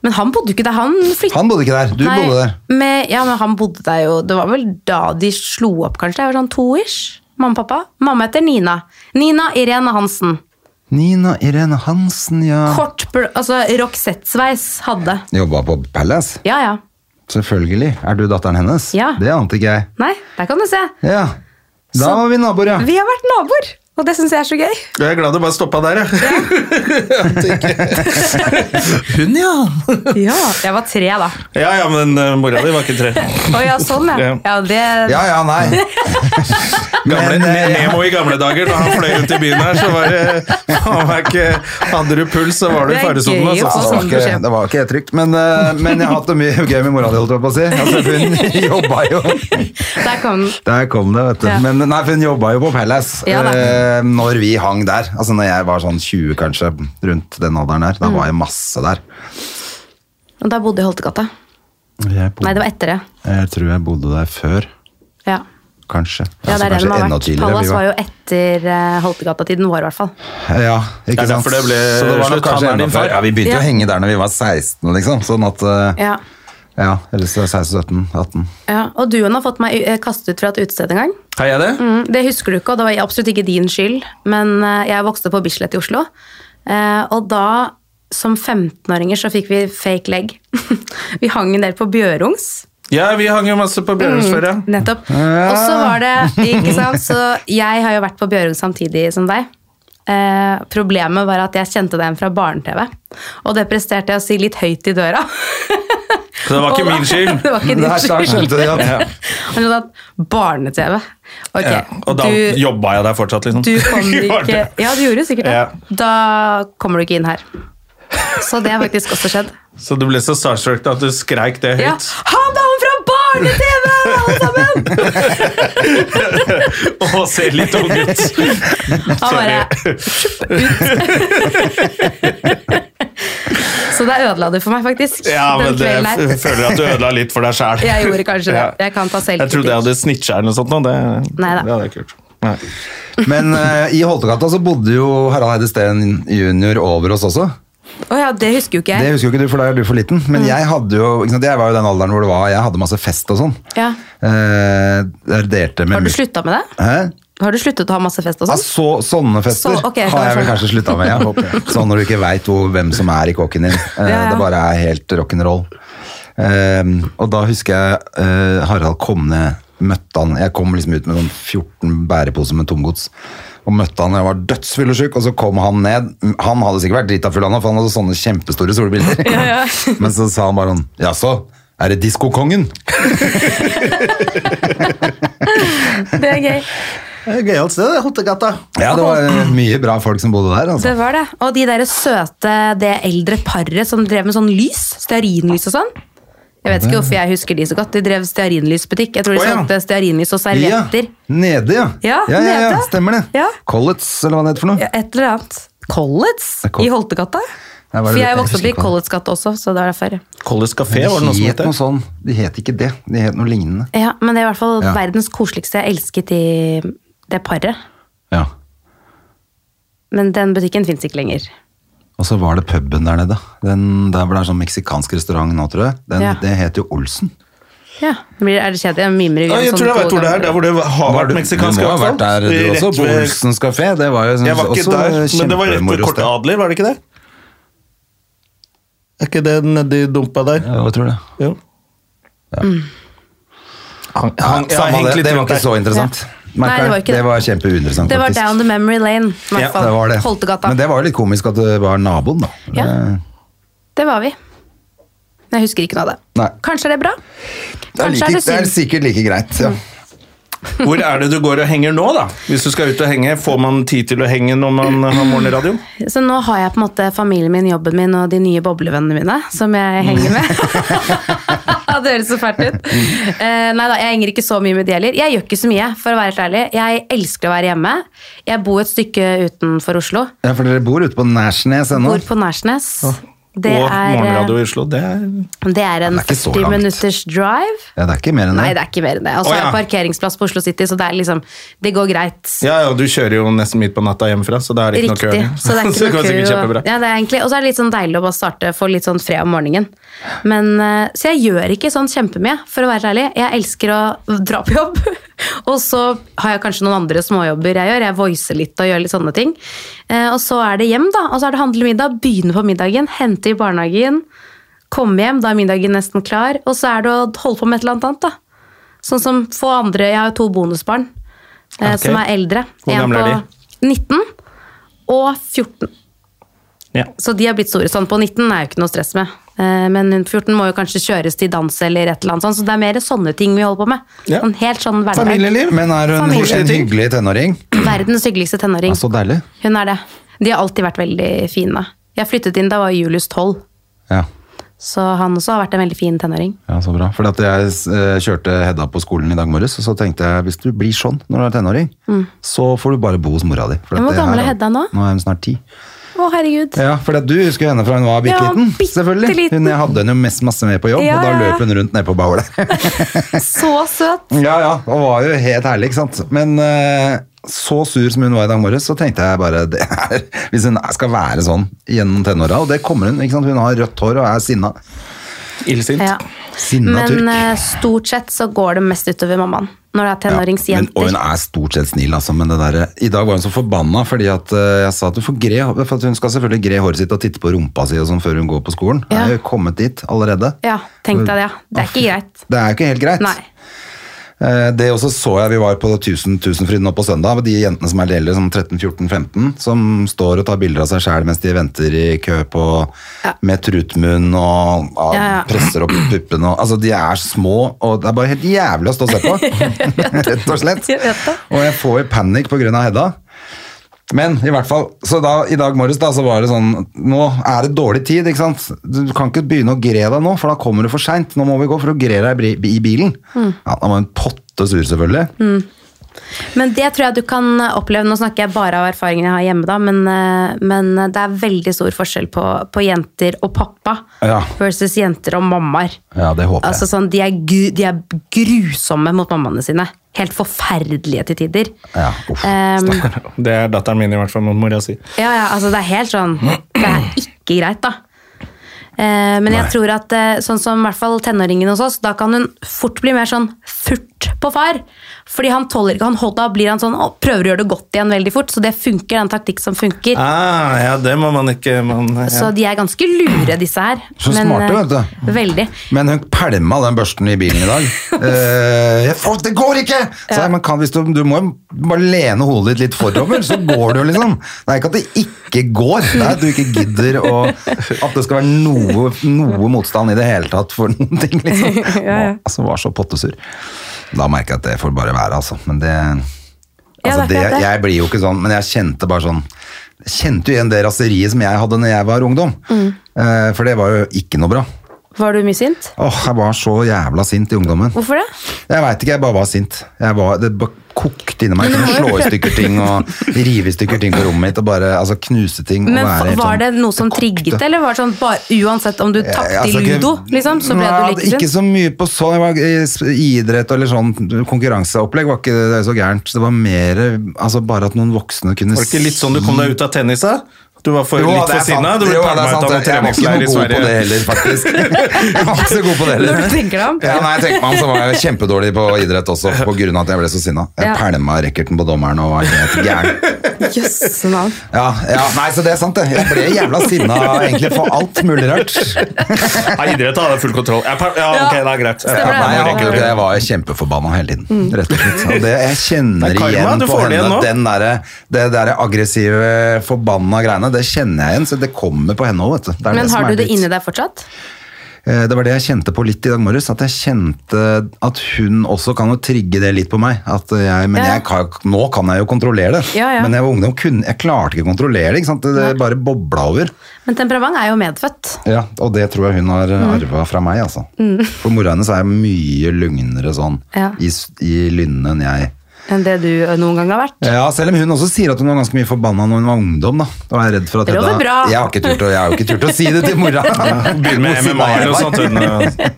Men han bodde jo ikke der. Han flyttet. Han bodde ikke der, du Nei, bodde der. Med, ja, men han bodde der jo. Det var vel da de slo opp, kanskje. Jeg var sånn to-ish. Mamma og pappa. Mamma heter Nina. Nina Irene Hansen. Nina Irene Hansen, ja. Kort, bl- altså Roxette-sveis hadde. Jobba på Palace? Ja, ja. Selvfølgelig. Er du datteren hennes? Ja. Det ante ikke jeg. Nei, der kan du se. Ja. Da Så- var vi naboer, ja. Vi har vært naboer, og det syns jeg er så gøy. Jeg er glad det bare stoppa der, jeg. Hun, ja. Ja, Jeg var tre, da. Ja, ja, men eh, mora di var ikke tre. Å ja, sånn, ja. Ja. ja det, Ja, ja, nei. Gamle, Men, eh, Nemo i gamle dager, da han fløy rundt i byen her, så var det han var ikke, Hadde du puls, så var du i Det er faresonen. gøy å Ja, få det, Altså. var sånn ikke, beskjed. det var ikke helt trygt, men, eh, men jeg har hatt det mye gøy med mora di, holdt jeg på å si. Altså, hun jobba jo Der kom den. Der kom det, vet du. Ja. Men nei, for hun jobba jo på Palace Ja, da. eh, når vi hang der. Altså når jeg var sånn 20, kanskje, rundt den alderen Mm. der. Da var jeg masse der. Og da bodde jeg i Holtegata. Jeg, bodde, Nei, det var etter det. jeg tror jeg bodde der før, Ja. kanskje. Ja, det Altså, er det de kanskje har enda vært. tidligere, vi Palace var- var jo etter eh, Holtegata-tiden vår, i hvert fall. Ja, ikke Det er sant? derfor det ble Så det var nok slutt. Han kanskje er enda din før. far. Ja, vi begynte Ja. å henge der når vi var 16, liksom. Sånn at eh, Ja. Ja, eller så 16-17-18. Ja. Og du Jon, har fått meg eh, kastet ut fra et utested en gang. Har jeg det? Mm, det husker du ikke, og det var absolutt ikke din skyld. Men eh, jeg vokste på Bislett i Oslo, eh, og da, som 15-åringer, så fikk vi fake leg. vi hang en del på Bjørungs. Ja, vi hang jo masse Mm. på Bjørnhus før, ja. Nettopp. Ah. Og så var det Ikke sant? Så jeg har jo vært på Bjørung samtidig som deg. Eh, problemet var at jeg kjente deg igjen fra barne-TV, og det presterte jeg å si litt høyt i døra. Så det var ikke min skyld. det var ikke din Der sa- skyld. skjønte de at Han hadde hatt barne-TV. Ok, Ja, og da du- jobba jeg der fortsatt, liksom. du kommer ikke Ja, du gjorde sikkert det. Da kommer du ikke inn her. Så det har faktisk også skjedd. Så du ble så starstruck at du skreik det Ja. høyt. Han er han fra barne-TV, alle sammen! Å, se litt ung ut! Han bare Sorry. tjupp, ut. Så der ødela du for meg, faktisk. Ja, men den det, jeg kvelden her. føler at du ødela litt for deg sjæl. Jeg gjorde kanskje det. Jeg kan ta Jeg trodde jeg selvkritikk. hadde snitcha eller noe sånt. nå, Det, det Neida. hadde jeg ikke gjort. Nei. Men eh, i Holtegata så bodde jo Harald Eide Steen jr. over oss også. Å ja, Mm. det husker jo ikke Det jeg. husker jo ikke du, for da er du for liten. Men jeg hadde jo, ikke sant, jeg var jo i den alderen hvor det var, jeg hadde masse fest og sånn. Ja. Eh, jeg delte med Har du mut- slutta med det? Hæ? Har du sluttet å ha masse fest og Ja, Altså- sånn? så, sånne fester Så- ok, har jeg sånn. da vel skjønner kanskje slutta med. Ja. Sånn når du ikke veit hvem som er i kåken din. Eh, Ja, ja. Det bare er helt rock'n'roll. Um, og da husker jeg eh, Harald kom ned, møtte han Jeg kom liksom ut med noen 14 bæreposer med tomgods. Og møtte han, og jeg var dødsfyllesyk, og så kom han ned. Han hadde sikkert vært drita full, han, for han hadde sånne kjempestore solbriller. Men så sa han bare sånn Jaså, er det diskokongen? Det er gøy. Gøyalt sted, Hottegata. Ja, det var eh, mye bra folk som bodde der. Altså. Det var det. Og de der søte, det eldre paret som drev med sånn lys, stearinlys og sånn. Jeg vet ikke hvorfor jeg husker de så godt. De drev stearinlysbutikk. Jeg tror de Å, ja. solgte stearinlys og servietter. Ja, nede, ja. Ja, ja, ja, ja nede. stemmer det. Ja. Collets, eller hva det heter for noe. Ja, Et eller annet. Collets Det er Col- i Holtegata. Jeg var For litt jeg vokste opp i usikker på det. Colletsgata også, så det var derfor. College De Café, var det noe som het het noe det? sånn. De het ikke det. De het noe lignende. Ja, men det er i hvert fall Ja. verdens koseligste. Jeg elsket de, det paret. Ja. Men den butikken fins ikke lenger. Og så var det puben der nede. Den, der hvor det er sånn meksikansk restaurant nå, tror jeg. Den, Ja. Det het jo Olsen. Ja, det blir, Er det kjedelig? Jeg mimrer Ja, igjen jeg sånn tror jeg to vet hvor det er. ganger. Der hvor det har Var vært du- meksikansk Du må ha vært der du Rett også, på ved- Olsens kafé. Det var jo Jeg var ikke også der, men det var rett ved kjempemoro Korte sted. Adler, var det ikke det? Er ikke det nedi dumpa der? Ja, jeg tror det. Jo. Han, Ja, han, jeg har samme hengt det, litt det var rundt ikke der. så interessant. Nei, det var Merker ikke jeg. det. Det var kjempeuinteressant, Det var faktisk. down the memory lane. i hvert Ja, fall. det var det. Holtegata. Men det var jo litt komisk at det var naboen, da. Ja. Eh, Det var vi. Men jeg husker ikke noe av det. Nei. Kanskje er det bra? Det er, Kanskje like, er det det er synd. Mm. sikkert like greit. Ja. Hvor er det du går og henger nå, da? Hvis du skal ut og henge, får man tid til å henge når man har morgenradio? Så nå har jeg på en måte familien min, jobben min og de nye boblevennene mine som jeg henger med. det høres så fælt ut. Eh, nei da, jeg henger ikke så mye med de heller. Jeg gjør ikke så mye, for å være helt ærlig. Jeg elsker å være hjemme. Jeg bor et stykke utenfor Oslo. ja, for dere bor ute på Nærsnes ennå. Bor på Nærsnes. Det og er, eh, morgenradio i Oslo, det er det er en Det er ikke så 40 langt. minutters drive. Ja, det er ikke mer enn Nei, det det. er ikke mer enn det. Og så Å, har ja. jeg parkeringsplass på Oslo City, så det er liksom Det går greit. Ja, ja, du kjører jo nesten midt på natta hjemmefra, så da er det ikke Riktig. noe kø. liksom. Så det er Så det går ikke noe sikkert kø. kjempebra. og- Ja, det er egentlig- og så er det litt sånn deilig å bare starte få litt sånn fred om morgenen. Men, eh, så jeg gjør ikke sånn kjempemye, for å være ærlig. Jeg elsker å dra på jobb. og så har jeg kanskje noen andre småjobber jeg gjør. Jeg voicer litt og gjør litt sånne ting. Eh, og så er det hjem, da. Og så er det handle middag. Begynne på middagen, hente i barnehagen. Komme hjem, da er middagen nesten klar. Og så er det å holde på med et eller annet annet, da. Sånn som få andre Jeg har jo to bonusbarn eh, Ok. som er eldre. Hvor En gamle er på 19 og 14. Ja. Så de har blitt store. Sånn på 19 er jo ikke noe stress med. Eh, Men hun 14 må jo kanskje kjøres til dans eller et eller annet sånt. Så det er mer sånne ting vi holder på med. Ja. Sånn helt sånn hverdag. Familieliv. Men er hun Familie. en hyggelig tenåring? Verdens hyggeligste tenåring. Ja, så deilig. Hun er det. De har alltid vært veldig fine. Jeg flyttet inn da var Julius 12, Ja. så han også har vært en veldig fin tenåring. ja, så bra. Fordi at jeg eh, kjørte Hedda på skolen i dag morges, og så tenkte jeg hvis du blir sånn når du er tenåring, så får du bare bo hos mora di. For at Mm. Men hvor det her gammel er Hedda nå? Nå er hun snart ti. Å, herregud. Ja, for at du husker henne fra hun var bitte Ja, liten. selvfølgelig. bitteliten. Hun, jeg hadde henne jo mest masse med på jobb, Ja, og da ja. løp hun rundt nede på baulet. Så søt. Ja, ja, og var jo helt herlig, ikke sant? Men eh, så sur som hun var i dag morges, så tenkte jeg bare det er, Hvis hun skal være sånn gjennom tenåra, og det kommer hun, ikke sant? Hun har rødt hår og er sinna. Illsint. Ja. Sinna Men turk. eh, stort sett så går det mest utover mammaen når det Ja, er men, og tenåringsjenter. hun er stort sett snill, altså, men det derre I dag var hun så forbanna fordi at eh, jeg sa at, du får gre, for at hun skal selvfølgelig gre håret sitt og titte på rumpa si og sånn før hun går på skolen. Ja. Jeg er jo kommet dit allerede. Ja, tenk deg det. ja. Det er ikke greit. Det er jo ikke helt greit. Nei. Eh, Det også så jeg vi var på 1000 Tusenfryd nå på søndag. De sånn jentene som er deler som 13-14-15, som står og tar bilder av seg sjæl mens de venter i kø på Ja. med trutmunn og ja, Ja, ja. presser opp puppene og Altså, de er små, og det er bare helt jævlig å stå og se på. Rett og slett. Jeg vet det. Og jeg får jo panikk på grunn av Hedda. Men i hvert fall, så da, i dag morges da, så var det sånn Nå er det dårlig tid, ikke sant? Du kan ikke begynne å gre deg nå, for da kommer du for seint. Nå må vi gå for å gre deg i bri- i bilen. Mm. Ja, Da var hun potte sur, selvfølgelig. Men det tror jeg du kan oppleve. Nå snakker jeg bare av erfaringene jeg har hjemme, da, men, eh, men det er veldig stor forskjell på, på jenter og pappa Ja. versus jenter og mammaer. Ja, det håper jeg. Altså sånn, de, er gu, de er grusomme mot mammaene sine. Helt forferdelige til tider. Ehm, Ja, uff. Em, Det er datteren min i hvert fall, må mora si. ja, ja, altså det er helt sånn Det er ikke greit, da. Eh, men jeg tror at eh, sånn som i hvert fall tenåringen hos oss, da kan hun fort bli mer sånn furt på far. Fordi han tåler ikke han hold- Da blir han sånn «Å, prøver å gjøre det godt igjen veldig fort. Så det funker, det er en taktikk som funker. Ah, ja, det må man ikke man, ja. Så de er ganske lure, disse her. Så smarte, eh, vet du. Veldig. Men hun pælma den børsten i bilen i dag. Eh, jeg, får- det går ikke! Så jeg, men kan, hvis du, du må jo bare lene hodet ditt litt forover, så går det jo, liksom. Det er ikke at det ikke går, det er at du ikke gidder å At det skal være noe, noe motstand i det hele tatt for noen ting, liksom. Å, Altså, var så pottesur. Da merker jeg at det får bare være, altså. Men det Ja, Altså, det, det er klart det. jeg blir jo ikke sånn, men jeg kjente bare sånn Mm. Kjente jo igjen det raseriet som jeg hadde når jeg var ungdom. Eh, for det var jo ikke noe bra. Var du mye sint? Åh, jeg var så jævla sint i ungdommen. Hvorfor det? Jeg veit ikke, jeg bare var sint. Jeg var, det bare kokte inni meg. Jeg kunne slå i stykker ting og rive i stykker ting på rommet mitt og bare altså, knuse ting. Men og være fa- helt Var det sånn- noe som kokte. trigget, eller var det sånn bare, uansett om du tapte Altså, i ikke- ludo, liksom, så ble Nei, du like Ikke sint? så mye på sånn. Jeg var, i- i idrett eller sånn konkurranseopplegg var ikke det så gærent. Det var mer altså, bare at noen voksne kunne Var det ikke litt sånn du kom deg ut av tennis, da? Du var for, Jo, litt det er for sinna? sant. Du ble Jo, det er pælma ut sant. av noen Jeg var ikke treningsleir noe i god på det Sverige. heller, faktisk. Jeg var ikke så god på det Når du heller. tenker deg om. Ja, nei, jeg tenker meg om, så var jeg kjempedårlig på idrett også, på grunn av at jeg ble så sinna. Jeg Ja. pælma racketen på dommeren og var helt gæren. Jøsse navn. Ja, ja, nei, så det er sant, det. Jeg ble jævla sinna egentlig for alt mulig rart. Nei, idrett hadde jeg full kontroll. Jeg pæl- Ja, ok, det er greit. Jeg Ja, nei, pælma jeg, noen hadde jo ikke det. rekker. jeg var kjempeforbanna hele tiden, Mm. rett og slett. Og det, jeg kjenner Det er karma, igjen du på får det henne igjen nå. den derre det der aggressive, forbanna greiene. Det kjenner jeg igjen, så det kommer på henne òg, vet du. Det er Men som har er du det dritt. inni deg fortsatt? Eh, Det var det jeg kjente på litt i dag morges, at jeg kjente at hun også kan jo trigge det litt på meg. At jeg, men Ja. jeg kan, nå kan jeg jo kontrollere det. Ja, ja. Men jeg var ungdom, kunne, jeg klarte ikke å kontrollere det. Ikke sant? Det, det bare bobla over. Men temperament er jo medfødt. Ja, og det tror jeg hun har Mm. arva fra meg, altså. For mora hennes er mye lugnere sånn Ja. i, s- i lynnet enn jeg. Enn det du noen gang har vært. Ja, selv om hun også sier at hun var ganske mye forbanna når hun var ungdom, da. Da var jeg redd for at Det lover dette- bra. Jeg har ikke turt å, jeg har jo ikke turt å si det til mora. Begynner med Hvor sinna MMA jeg eller noe var. sånt. eh.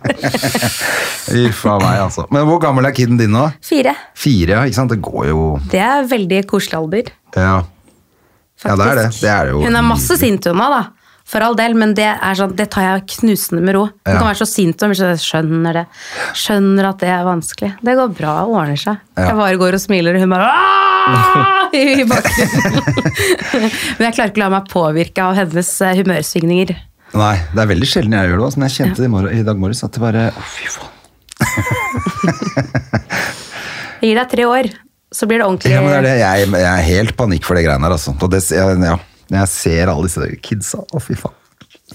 uten å- Uff a meg, altså. Men hvor gammel er kiden din nå? Fire. Fire, ja. ikke sant? Det går jo Det er veldig koselig alder. Ja, ja det er det. faktisk. Det er det jo. Hun er masse sint hun òg, da. For all del, men det, er sånn, det tar jeg knusende med ro. Hun Ja. kan være så sint hun så jeg skjønner det. Skjønner at det er vanskelig. Det går bra, det ordner seg. Ja. Jeg bare går og smiler, og hun bare «Aah!» i bakgrunnen. men jeg klarer ikke å la meg påvirke av hennes eh, humørsvingninger. Nei, det er veldig sjelden jeg gjør det, altså, men jeg kjente det i, mor i dag morges at det bare Å, fy faen. Jeg gir deg tre år, så blir det ordentlig. Ja, men det er det. Jeg, jeg er helt panikk for det greiene her, altså. Og det, jeg, ja. Jeg ser alle disse kidsa. Å, fy faen.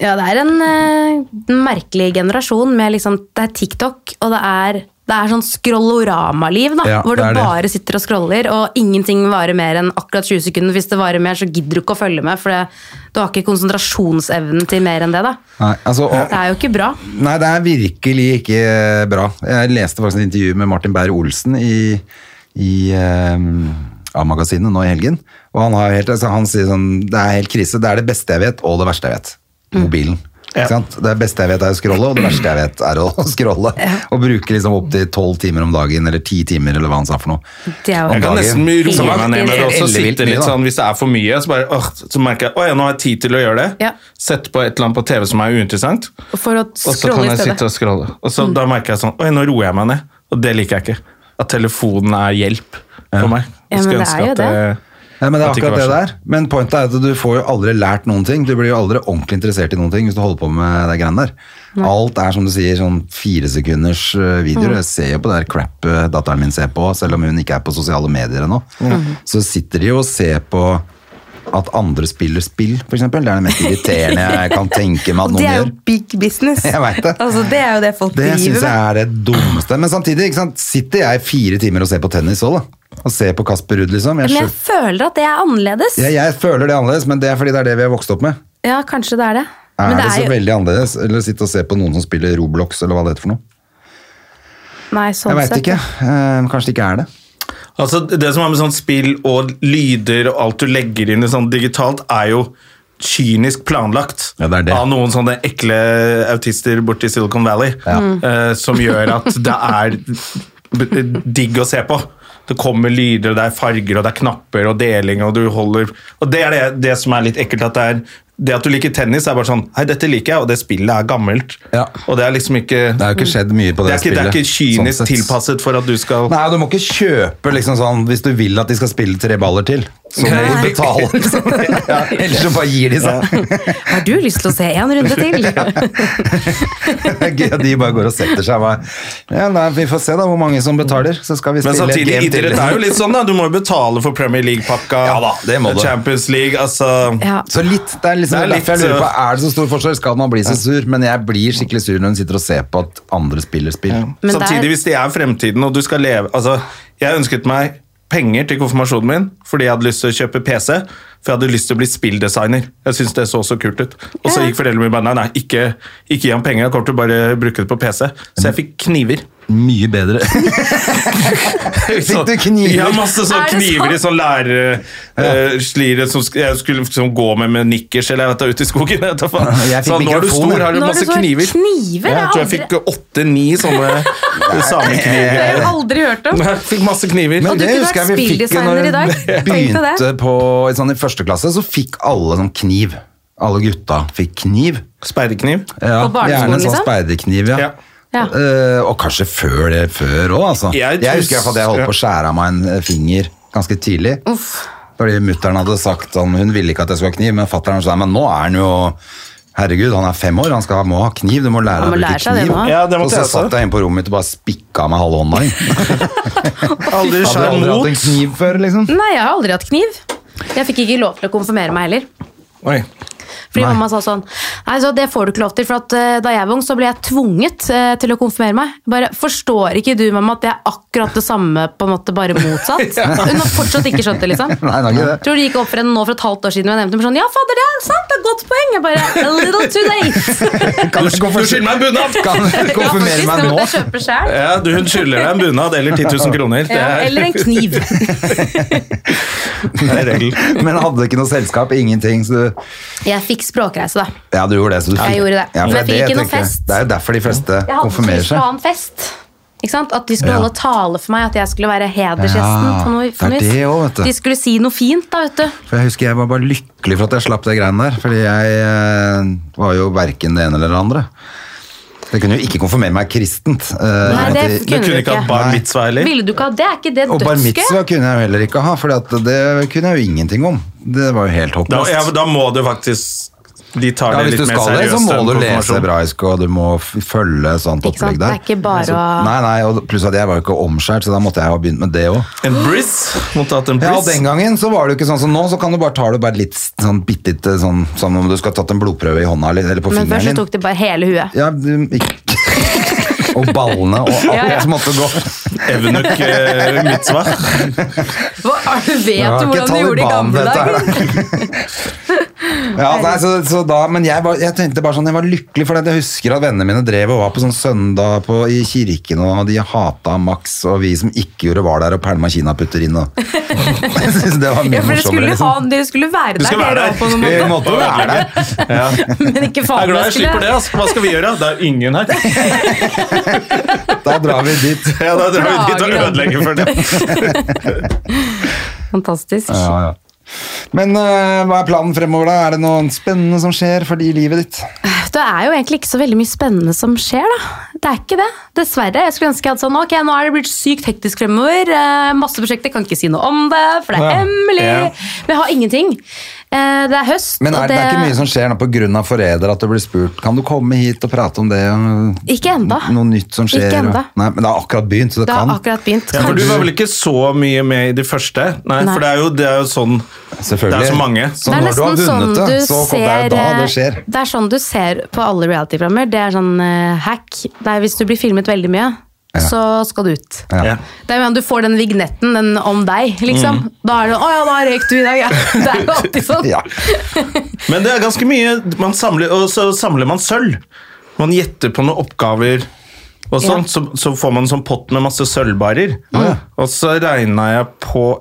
Ja, det er en eh, merkelig generasjon med liksom Det er TikTok, og det er, det er sånn scrollorama-liv, da. Ja, hvor du det er det. bare sitter og scroller, og ingenting varer mer enn akkurat 20 sekunder. Hvis det varer mer, så gidder du ikke å følge med, for det, du har ikke konsentrasjonsevnen til mer enn det, da. Nei, altså, og, Det er jo ikke bra. Nei, det er virkelig ikke eh, bra. Jeg leste faktisk et intervju med Martin Beyer-Olsen i, i ehm, A-magasinet nå i helgen. Og han, har helt, altså, han sier sånn Det er helt krise. Det er det beste jeg vet, og det verste jeg vet. Mm. Mobilen. Ikke sant? Det beste jeg vet er å scrolle, og det verste jeg vet er å scrolle. Og bruke liksom opptil tolv timer om dagen, eller ti timer, eller hva han sa for noe. Det er om Jeg jo dagen. kan nesten roe meg Helt ned med det også. ellevilt Sitte mye, litt da. sånn, Hvis det er for mye, så, bare, åh, så merker jeg at nå har jeg tid til å gjøre det. Ja. Sett på et eller annet på TV som er uinteressant, For å og så kan scrolle i jeg sitte stedet. Mm. og scrolle. Og så Da merker jeg sånn Oi, nå roer jeg meg ned. Og det liker jeg ikke. At telefonen er hjelp for meg. Ja, Jeg men skulle det er ønske jo at eh, det- Ja, men det er At det ikke akkurat det var sånn. der. Men pointet er at du får jo aldri lært noen ting. Du blir jo aldri ordentlig interessert i noen ting hvis du holder på med det greiene der. Alt er som du sier, sånn fire sekunders eh, videoer. Jeg ser jo på det der crap eh, datteren min ser på, selv om hun ikke er på sosiale medier ennå. Mm. Så sitter de jo og ser på at andre spiller spill, for eksempel. Det er det mest irriterende jeg kan tenke meg at Og det noen er jo gjør. big business. Jeg vet det. Altså, det er jo det folk Det syns driver jeg med. er det dummeste. Men samtidig ikke sant? sitter jeg fire timer og ser på tennis òg, da. Og ser på Kasper Ruud, liksom. Jeg Men skjønner- jeg føler at det er annerledes. Ja, jeg føler det annerledes, men det er fordi det er det vi har vokst opp med. Ja, kanskje det er det. Er Men det, så er jo veldig annerledes? Eller sitte og se på noen som spiller Roblox, eller hva det heter for noe? Nei, sånn Jeg veit sett. ikke. Eh, Kanskje det ikke er det. Altså, det som er med sånn spill og lyder og alt du legger inn i sånn digitalt, er jo kynisk planlagt Ja, det er det. av noen sånne ekle autister borti Silicon Valley, eh, som gjør at det er b- digg å se på. Det kommer lyder, og det er farger, og det er knapper og deling, og du holder Og det er det, det som er litt ekkelt, at det er det at du liker tennis, er bare sånn Hei, dette liker jeg, og det spillet er gammelt. Ja. Og det er liksom ikke Det har jo ikke skjedd mye på det, det er ikke, det er ikke spillet, kynisk sånn sett. tilpasset for at du skal Nei, du må ikke kjøpe liksom sånn hvis du vil at de skal spille tre baller til. Så må du Nei. betale, liksom. Ja, ellers så bare gir de seg. Har du lyst til å se en runde til? Det er Gøy at de bare går og setter seg. og Bare. Ja, nei, vi får se da hvor mange som betaler, så skal vi Men spille samtidig, idrett er jo litt sånn, da. Du må jo betale for Premier League-pakka. Ja da, det må du. Champions League, altså Ja. Så litt, det er liksom Det er litt, derfor jeg lurer på, øh, er det så stor forskjell? Skal man bli så sur? Men jeg blir skikkelig sur når hun sitter og ser på at andre spiller spill. Men Samtidig, der- hvis det er fremtiden, og du skal leve Altså, jeg ønsket meg penger til konfirmasjonen min fordi jeg hadde lyst til å kjøpe PC. For jeg hadde lyst til å bli spilldesigner. Jeg syntes det så så kult ut. Og så gikk foreldrene mine bare nei, nei, ikke, ikke gi ham penger, jeg kommer til å bare bruke det på PC. Så jeg fikk kniver. Mye bedre. Sånn- du kniver? Ja, masse sånne Er det kniver i sant? sånn lærerslire som sk- jeg skulle liksom gå med med nikkers eller jeg vet da, ute i skogen. Jeg vet da faen. Jeg fikk Så nå er du mikrofon, jeg. stor, har du Nå har masse du så kniver. kniver, Ja, jeg jeg tror jeg aldri- fikk eh, åtte-ni sånne eh, Det har jeg samekniver. aldri hørt om. Jeg fikk masse kniver. Og du kunne vært spilldesigner i dag. Tenk deg begynte det. på i sånn, i første klasse, så fikk alle sånn kniv. Alle gutta fikk kniv. Speiderkniv. Ja, På barneskolen, gjerne sånn liksom? speiderkniv, ja. Ja. Ja. Eh, og kanskje før det før òg, altså. Jeg, Jeg tror- husker i hvert fall at jeg holdt på å skjære av meg en eh, finger ganske tidlig. Uff. Fordi mutter'n hadde sagt sånn Hun ville ikke at jeg skulle ha kniv, men fatter'n sa men nå er han jo Herregud, han er fem år, han skal, må ha kniv. Du må lære deg å Han må bruke lære seg det kniv. nå. Ja, det måtte og så jeg også. satt jeg inne på rommet mitt og bare spikka med halve hånda. Jeg Aldri hadde skjær aldri hatt en mot. kniv før, liksom. Nei, jeg har aldri hatt kniv. Jeg fikk ikke lov til å konfirmere meg heller. Oi. Fordi mamma sa sånn Nei, så det får du ikke lov til, for at, eh, da jeg var ung, så ble jeg tvunget eh, til å konfirmere meg. Bare, Forstår ikke du, mamma, at det er akkurat det samme, på en måte, bare motsatt? Hun har fortsatt ikke skjønt det, liksom. Nei, det er ikke det. Tror du det gikk opp for henne nå for et halvt år siden? Og jeg nevnte dem sånn, ja, fader, det er sant, det er et godt poeng. Jeg bare, a little too late. Kan Du du skylder meg en bunad! Kan du konfirmere meg sånn nå? kjøpe selv. Ja, du, hun skylder deg en bunad eller 10 000 kroner. Det Ja, er, eller en kniv. det er regelen. Men hadde ikke noe selskap, ingenting. Så du, Jeg fikk språkreise, da. ja, du gjorde det. Så du Jeg fikk- gjorde det. Ja, for Men jeg fikk ikke noe tenker. fest. Det er jo derfor de fleste Jeg hadde ikke konfirmerer lyst til å ha seg. en fest. Ikke sant? At de skulle Ja. holde tale for meg, at jeg skulle være hedersgjesten. Ja, på noe, på det er noe det også, vet vis. du. De skulle si noe fint, da, vet du. For jeg husker jeg var bare lykkelig for at jeg slapp det greiene der. Fordi jeg eh, var jo verken det ene eller det andre. Jeg kunne jo ikke konfirmere meg kristent. eh, Nei, det etter- Du kunne ikke hatt bar mitzvah heller. Ville du ikke ha det? Er ikke det og bar mitzvah dødsgøy? kunne jeg jo heller ikke ha, for det kunne jeg jo ingenting om. Det var jo helt Da, håpløst. ja, da må du faktisk De tar Ja, det hvis du litt mer skal det, så seriøst. må enn du lese konfirmasjon. hebraisk, og du må f- følge sånt Ikke sant? opplegg Det der. Altså, er ikke bare å- Nei, nei, og pluss at jeg var jo ikke omskjært, så da måtte jeg jo ha begynt med det òg. En briss? Måtte hatt en Ja, og briss. den gangen så var det jo ikke sånn som nå, så kan du bare ta det bare litt sånn bitte lite sånn som om du skal ha tatt en blodprøve i hånda eller eller på Men først så fingeren din. tok de bare hele huet. Ja, du, ikk- og ballene og alt Ja, ja. som måtte gå. Evnuk eh, mitzvah. Hva, er det- vet Det var du ikke hvordan du gjorde i Taliban, gamle dette her. dager? Ja, nei, så, så da, men jeg, var, jeg tenkte bare sånn, jeg var lykkelig for det. Jeg husker at vennene mine drev og var på sånn søndag på, i kirken, og de hata Max, og vi som ikke gjorde var der og pælma kinaputter inn. Og. Jeg synes det var Ja, mye for dere morsommere. skulle, ha, Liksom. dere skulle være Du der, skal være dere der. òg, på noen Vi måte. måtte jo være der. Ja. Men ikke Jeg er faen glad meg jeg slipper det. skulle Altså. Hva skal vi gjøre? Det er ingen her. Da drar vi dit. Ja, da drar vi dit og Plager. ødelegger for det. Fantastisk. Ja, ja. Men øh, hva er planen fremover, da? Er det noe spennende som skjer for de i livet ditt? Det er jo egentlig ikke så veldig mye spennende som skjer, da. Det er ikke det. Dessverre. Jeg skulle ønske jeg hadde sånn Ok, nå er det blitt sykt hektisk fremover. Eh, masse prosjekter, kan ikke si noe om det, for det er Ja. hemmelig. Ja. Men jeg har ingenting. Eh, det er høst, Men er, og det... er ikke mye som skjer nå pga. forræder, at du blir spurt kan du komme hit og prate om det? og Ikke enda. Noe nytt som skjer? Ikke enda. og- Nei, men det har akkurat begynt, så det, Det har kan. akkurat begynt. Ja, for du Kanskje- var vel ikke så mye med i de første? Nei, Nei. for det er jo, det er jo sånn Det Selvfølgelig. er så mange. Så sånn når du har sånn vunnet det, så det er jo da det skjer. Det er sånn du ser på alle reality-programmer. Det er sånn eh, hack. Det er hvis du blir filmet veldig mye, så skal du ut. Ja. Ja. Det er jo, Du får den vignetten den om deg, liksom. Da er det 'Å ja, da røyk du i dag', ja. Det er jo alltid sånn. Mm. Ja. Men det er ganske mye man samler, Og så samler man sølv. Man gjetter på noen oppgaver og sånn. Så, så får man en sånn pott med masse sølvbarer. Og så regna jeg på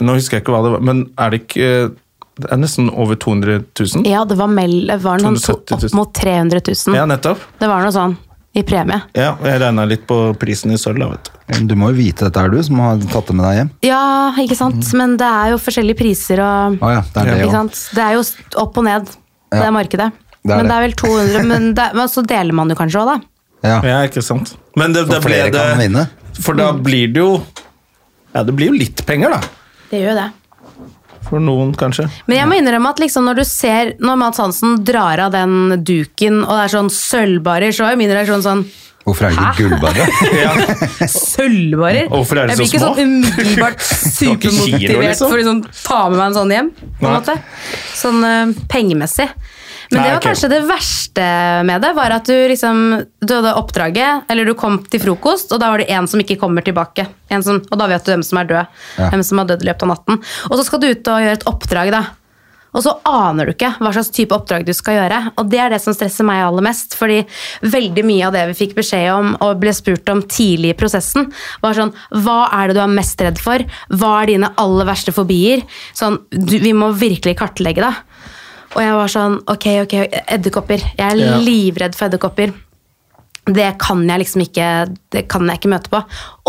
Nå husker jeg ikke hva det var, men er det ikke Det er nesten over 200 000? Ja, det var, mell, var noen to, 270 000. opp mot 300 000. Ja, nettopp. Det var noe sånn i premie. Ja, jeg regna litt på prisen i sølv, da, vet du. Men Du må jo vite dette, er du som har tatt det med deg hjem. Ja, ikke sant? Men det er jo forskjellige priser og Mm. Å ja, det er det Ikke også. sant? Det er jo s- opp og ned, det markedet. Det er men det. det er vel 200 men, det, men så deler man jo kanskje òg, da. Ja. Ja, ikke sant. Men det, det ble flere det kan vinne. For da blir det jo Ja, det blir jo litt penger, da. Det gjør jo det. For noen, kanskje. Men jeg må innrømme at liksom når du ser Når Mads Hansen drar av den duken, og det er sånn sølvbarer, så er jo min reaksjon sånn Hvorfor er det ikke gullbarre? Sølvbarer? Hvorfor er de jeg blir så ikke små? sånn umiddelbart ikke kilo, supermotivert liksom. for å liksom ta med meg en sånn hjem. på en Nei. måte. Sånn eh, pengemessig. Men Nei, det var ok. kanskje det verste med det, var at du liksom Du hadde oppdraget, eller du kom til frokost, og da var det en som ikke kommer tilbake. En som, og da vet du hvem som er død. Ja. Hvem som har dødd i løpet av natten. Og så skal du ut og gjøre et oppdrag, da. Og så aner du ikke hva slags type oppdrag du skal gjøre. Og det er det som stresser meg aller mest. Fordi veldig mye av det vi fikk beskjed om og ble spurt om tidlig i prosessen, var sånn Hva er det du er mest redd for? Hva er dine aller verste fobier? Sånn, du, vi må virkelig kartlegge det. Og jeg var sånn Ok, ok, edderkopper. Jeg er Ja. livredd for edderkopper. Det kan jeg liksom ikke det kan jeg ikke møte på.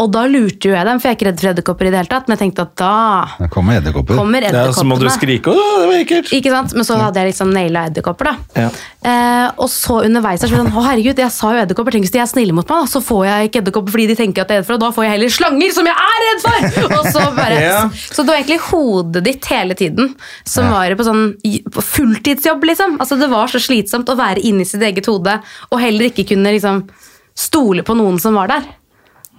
Og da lurte jo jeg dem, for jeg er ikke redd for edderkopper i det hele tatt. Men jeg tenkte at da Der kommer edderkopper. kommer Ja, så må du edderkoppene. skrike Åh, det var ekkelt! Ikke sant? Men så hadde jeg liksom naila edderkopper. da. Ja. Eh, og så underveis så er det sånn, å herregud, jeg sa jo edderkopper, tenk hvis de er snille mot meg, da, så får jeg ikke edderkopper fordi de tenker at jeg er redd for, og da får jeg heller slanger, som jeg er redd for! Og så bare, Ja. så det var egentlig hodet ditt hele tiden som var på sånn i- på fulltidsjobb, liksom. Altså, det var så slitsomt å være inni sitt eget hode og heller ikke kunne liksom stole på noen som var der.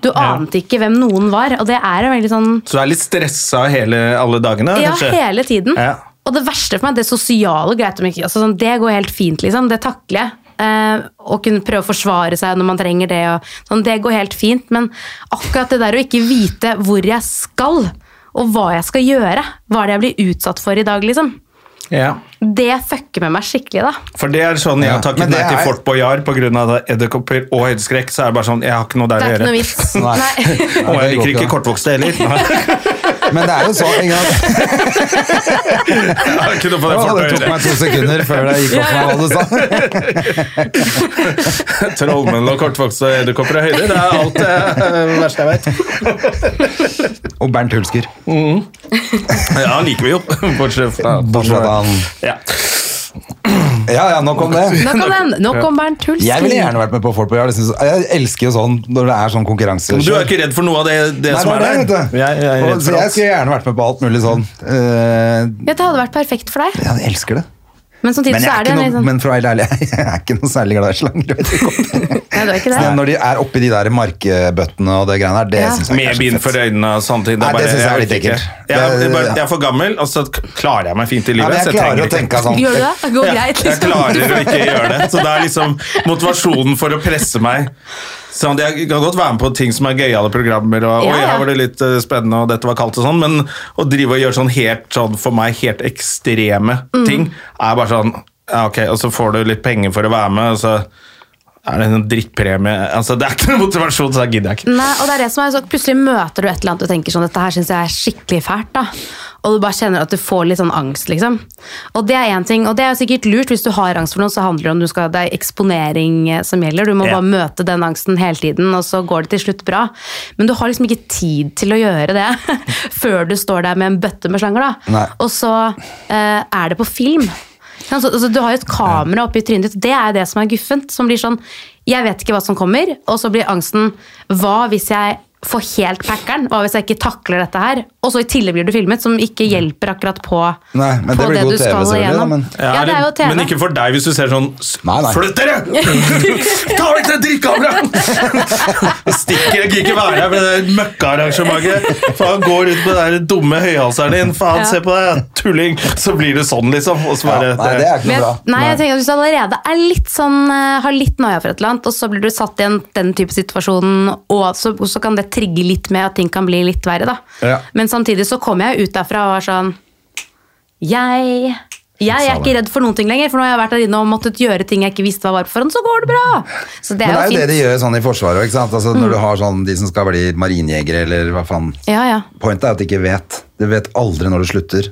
Du ante ikke hvem noen var, og det er en veldig sånn Så du er litt stressa hele, alle dagene? ja, kanskje? hele tiden. Ja. Og det verste for meg, det sosiale greit om ikke, altså sånn, det går helt fint, liksom. Det takler jeg. Eh, å kunne prøve å forsvare seg når man trenger det. Og, sånn, det går helt fint, men akkurat det der å ikke vite hvor jeg skal, og hva jeg skal gjøre, hva er det jeg blir utsatt for i dag, liksom, Ja. det fucker med meg skikkelig, da. For det er sånn jeg har Ja, men takket nei det til er- Fort Boyard pga. edderkopper og høydeskrekk. Så er det bare sånn Jeg har ikke noe der Det å er ikke gjøre. noe vits. Nei. Nei. Og jeg det går liker ikke ikke. kortvokste heller. Nei, Men det er jo sånn ikke sant? jeg har ikke noe på det Å, Fort Det tok Boyard. meg to sekunder før det gikk opp for meg hva du sa. Trollmenn og kortvokste edderkopper og høyder, det er alt det eh, verste jeg vet. Og Bernt Hulsker. Ja, han liker vi jo. Bortsett fra Bortsett fra han. Ja. Ja, ja, nok om det. Nok om den. Nok om Bernt Hulsker. Jeg ville gjerne vært med på Folk på Jarl. Jeg, synes- jeg elsker jo sånn når det er sånn konkurranse. Men Du er ikke redd for noe av det, det Nei, som det er er det, der? vet du. Jeg, jeg er Og- redd så for jeg alt. skulle gjerne vært med på alt mulig sånn. Eh, Ja, det hadde vært perfekt for deg. ja, jeg elsker det. Men samtidig Men, jeg så er er det ikke en noe, litt sånn- men for å være ærlig, jeg er ikke noe særlig glad i slanger. og edderkopper. Nei, det er ikke Så det. Når de er oppi de der markebøttene og det greiene der, det Ja. synes jeg ikke er Med så bind fett. for øynene og sånne ting. Nei, det bare- synes jeg er litt orker ikke. ekkelt. Jeg, Det- er bare, jeg er for gammel, og så klarer jeg meg fint i Ja, men livet. jeg så trenger klarer å ikke- tenke sånn. Gjør du det? Det går Ja, greit, Jeg liksom. klarer å ikke gjøre det. Så det er liksom motivasjonen for å presse meg. Sånn, jeg kan godt være med på ting som er gøyale programmer, og Ja, oi, ja. her var det litt eh, spennende, og dette var kaldt og sånn, men å drive og gjøre sånn helt sånn for meg helt ekstreme Mm. ting, er bare sånn ja, ok, og så får du litt penger for å være med, og så er det en drittpremie. Altså, det er ikke noen motivasjon, så da gidder jeg ikke. Nei, og det er det som er så Plutselig møter du et eller annet og tenker sånn Dette her synes jeg er skikkelig fælt da Og du bare kjenner at du får litt sånn angst liksom Og det er en ting, og det er jo sikkert lurt Hvis du har angst for noe, så handler det om du skal, Det er eksponering eh, som gjelder Du må Ja. bare møte den angsten hele tiden Og så går det til slutt bra Men du har liksom ikke tid til å gjøre det Før du står der med en bøtte med slanger da Nei. Og så eh, er det på film Ikke sant? så, altså, Du har jo et kamera oppi trynet ditt Det er jo det som er guffent Som blir sånn, jeg vet ikke hva som kommer Og så blir angsten, hva hvis jeg får helt packeren Hva hvis jeg ikke takler dette her Og så i tillegg blir du filmet Som ikke hjelper akkurat på Mm. Nei, men på det blir god TV du skal selvfølgelig, da, igjennom. men- ja, det er jo TV Men ikke for deg hvis du ser sånn s- Nei, nei. Flytt dere! Ta vekk det drittkameraet! Stikker, jeg gidder ikke være her med det der møkkaarrangementet. Faen, gå rundt med den der dumme høyhalseren din. Faen, se på deg, tulling! Så blir det sånn, liksom. Og så Ja, bare nei, det er ikke noe Men jeg, bra. nei, jeg tenker at Hvis du allerede er litt sånn, eh, har litt noia for et eller annet, og så blir du satt i en, den type situasjonen, og så, og så kan det trigge litt med at ting kan bli litt verre. da. Ja. Men samtidig så kom jeg ut derfra og var sånn Jeg jeg er ikke redd for noen ting lenger, for nå har jeg vært der inne og måttet gjøre ting jeg ikke visste var varmt for, og så går det bra! Så det Men det er er jo det jo de fint. Mm. gjør sånn i Forsvaret også, ikke sant? Altså, når du har sånn de som skal bli marinejegere eller hva faen. Ja, ja. Pointet er at de ikke vet. De vet aldri når det slutter.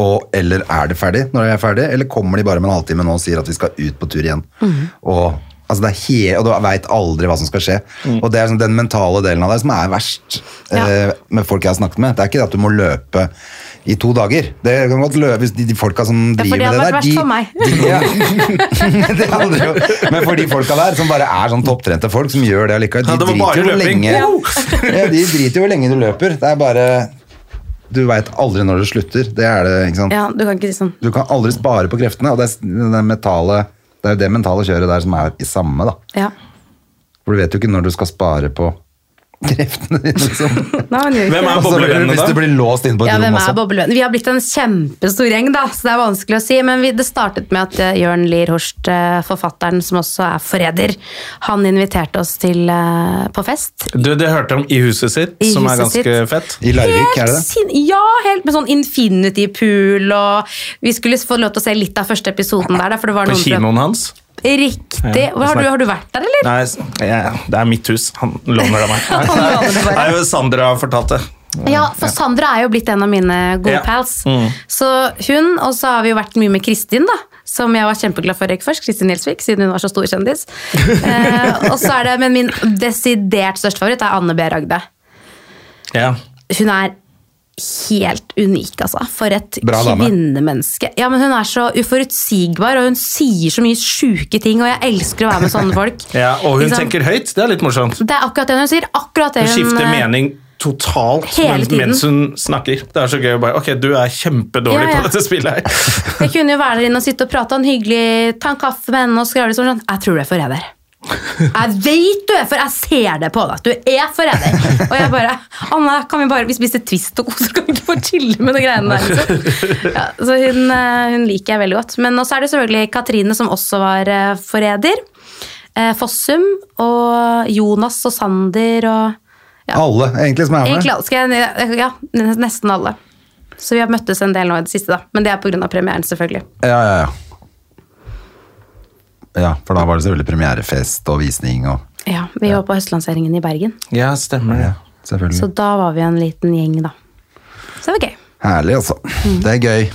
Og eller er det ferdig når det er ferdig, eller kommer de bare med en halvtime nå og sier at vi skal ut på tur igjen. Mhm. Og, altså, det er he og du veit aldri hva som skal skje. Og det er sånn, den mentale delen av det som er verst Mm. Ja. eh, med folk jeg har snakket med. Det er ikke det at du må løpe i to dager. Det kan godt løpe hvis de, de folka som Ja, driver for det hadde med det vært der, verst for meg. de, det handler jo Men for de folka der, som bare er sånn topptrente folk, som gjør det allikevel, de Ja, det var bare driter jo hvor løping. lenge Wow. ja, De driter jo hvor lenge du løper. Det er bare Du veit aldri når det slutter. Det er det, ikke sant. ja, du kan ikke si sånn. Du kan aldri spare på kreftene, og det er, det, metale, det er jo det mentale kjøret der som er i samme, da. Ja. For du vet jo ikke når du skal spare på kreftene dine, liksom. Nei, han gjør ikke Hvem det. er Og så blir du- boblevennene, hvis du da? blir låst inne på et Ja, hvem rom er også. boblevennene? Vi har blitt en kjempestor gjeng, da, så det er vanskelig å si. Men vi, det startet med at eh, Jørn Lier Horst, eh, forfatteren som også er forræder, han inviterte oss til, eh, på fest. Du, det hørte om I huset sitt, I som er huset ganske sitt. fett. I Larvik, er det det? Sin, ja, helt med sånn infinity-pool, og vi skulle få lov til å se litt av første episoden der. da, For det var På noen fra- kinoen hans. Riktig. Ja, Hva har, snakk- du, har du vært der, eller? Nei, s- ja, det er mitt hus. Han låner det av meg. Nei, Nei, Sandra har fortalt det. Ja, for Sandra er jo blitt en av mine gode Ja. pals. Mm. Så hun, og så har vi jo vært mye med Kristin, da. Som jeg var kjempeglad for i Røykfors. Kristin Gjelsvik, siden hun var så stor kjendis. eh, og så er det, Men min desidert største favoritt er Anne B. Ragde. Ja. Hun er helt unik, altså. For et Bra dame. kvinnemenneske. Ja, men Hun er så uforutsigbar, og hun sier så mye sjuke ting, og jeg elsker å være med sånne folk. ja, Og hun Ikke sant? tenker høyt. Det er litt morsomt. Det er akkurat det hun sier. akkurat det Hun skifter eh, mening totalt Hele mens, tiden. mens hun snakker. Det er så gøy å bare Ok, du er kjempedårlig Ja, ja. på dette spillet her. Jeg kunne jo være der inne og sitte og prate han hyggelig, ta en kaffe med henne og skrive liksom sånn Jeg tror du er forræder. Jeg vet du er for Jeg ser det på deg. at Du er forræder. Og jeg bare Anna, kan vi bare Vi spiser Twist og kos, så kan vi ikke få chille med de greiene der. Liksom. Ja, så hun, eh, hun liker jeg veldig godt. Men også er det selvfølgelig Katrine, som også var eh, forræder. Eh, Fossum og Jonas og Sander og Alle, egentlig, som er med. Egentlig alle. Skal jeg, ja, nesten alle. Så vi har møttes en del nå i det siste, da. Men det er pga. premieren, selvfølgelig. Ja, ja, ja. Ja, for da var det selvfølgelig premierefest og visning og Ja, Vi var på høstlanseringen i Bergen, Ja, stemmer det. ja, Selvfølgelig. så da var vi en liten gjeng, da. Så det var gøy. Herlig, altså. Mhm. Det er gøy.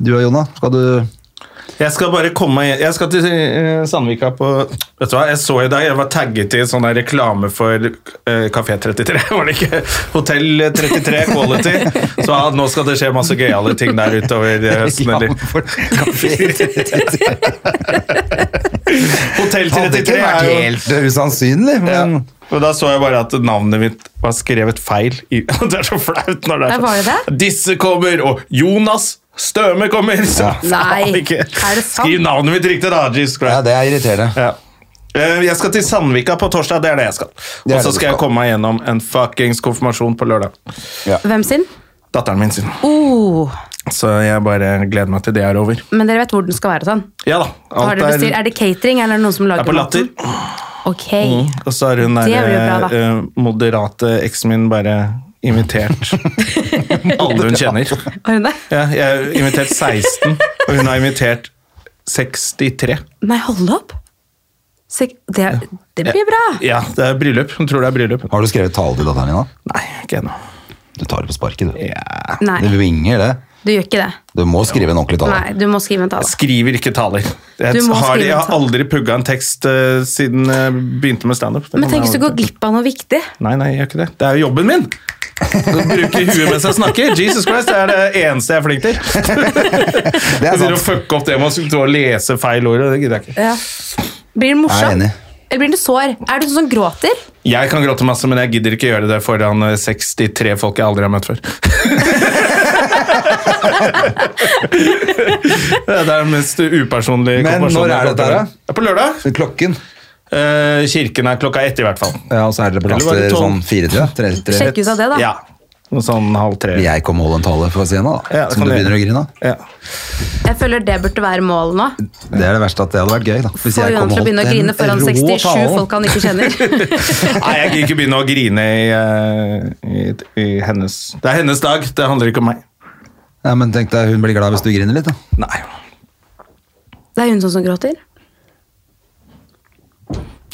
Du og Jonna, skal du Jeg skal bare komme meg Jeg skal til eh, Sandvika på Vet du hva, jeg så i dag Jeg var tagget i sånn her reklame for eh, Café 33, var det ikke? Hotell 33 Quality. Så ja, nå skal det skje masse gøyale ting der utover eh, høsten. Ja, Eller. for- Hotell Hadde ikke 33 vært er jo helt usannsynlig, men Ja. Og da så jeg bare at navnet mitt var skrevet feil. I, det er så flaut når det Ja, er var det sånn. Disse kommer, og Jonas Støme kommer! Så faen Nei, ikke. er det sant? Skriv navnet mitt riktig, da. Jesus ja, Christ. det er irriterende. Ja. Eh, Jeg skal til Sandvika på torsdag, det er det jeg skal. er Og det så du skal jeg skal. komme meg gjennom en fuckings konfirmasjon på lørdag. Hvem sin? Datteren min sin. Oh, Så jeg bare gleder meg til det er over. men dere vet hvor den skal være? sånn. Ja da. Har dere bestilt, Er det catering, eller er det noen som er lager på maten? Latter. Mm. Ok. Og så har hun Det blir bra, der, da. eh, moderate eksen min bare invitert alle hun kjenner. Har hun det? Ja, jeg har invitert 16, og hun har invitert 63. Nei, hold opp! Sek det, det blir bra! Ja, det er bryllup. Hun tror det er bryllup. Har du skrevet tale til datteren din, da? Nei, ikke ennå. Du tar det på sparket, du. Nei, Det vinger, det. du gjør ikke det. Du må skrive en ordentlig Nei, tale. Du må skrive en tale. Skriver ikke taler. Jeg Du må har, skrive jeg har taler. aldri pugga en tekst eh, siden jeg begynte med standup. Det Men kan tenk hvis jeg du går aldri- glipp av noe viktig. Nei, nei, jeg gjør ikke det. Det er jo jobben min! Å bruke huet mens jeg snakker. Jesus Christ, det er det eneste jeg er flink til. Det er Jeg begynner å sant. fucke opp det med å skulle stå og lese feil ord. og Det gidder jeg ikke. Ja. Blir den Jeg er morsom? enig. Eller blir den sår? Er du sånn som gråter? Jeg kan gråte masse, men jeg gidder ikke gjøre det foran eh, 63 folk jeg aldri har møtt før. det er den mest upersonlige Men konfirmasjonen når er jeg dette her, da? kan gjøre. På lørdag. Klokken. Eh, kirken er klokka ett, i hvert fall. Ja, og så er dere på Eller var det latter tolv? sånn 4-3. Sjekk ut av det, da. Ja. Noe sånn halv tre. Jeg kommer og holder en tale for scenen, da. Ja, det Som kan du du begynner å gjøre. grine av. Ja. Jeg føler det burde være målet nå. Det er det verste, at det hadde vært gøy, da. Hvis Få jeg Jonas kom og til å begynne å holdt en grine foran rå 67 tale. folk han ikke kjenner. Nei, jeg gidder ikke begynne å grine i, eh, i, i hennes Det er hennes dag, det handler ikke om meg. Nei, men tenk deg, hun blir glad hvis du griner litt, da. Nei. Det er hun sånn som gråter.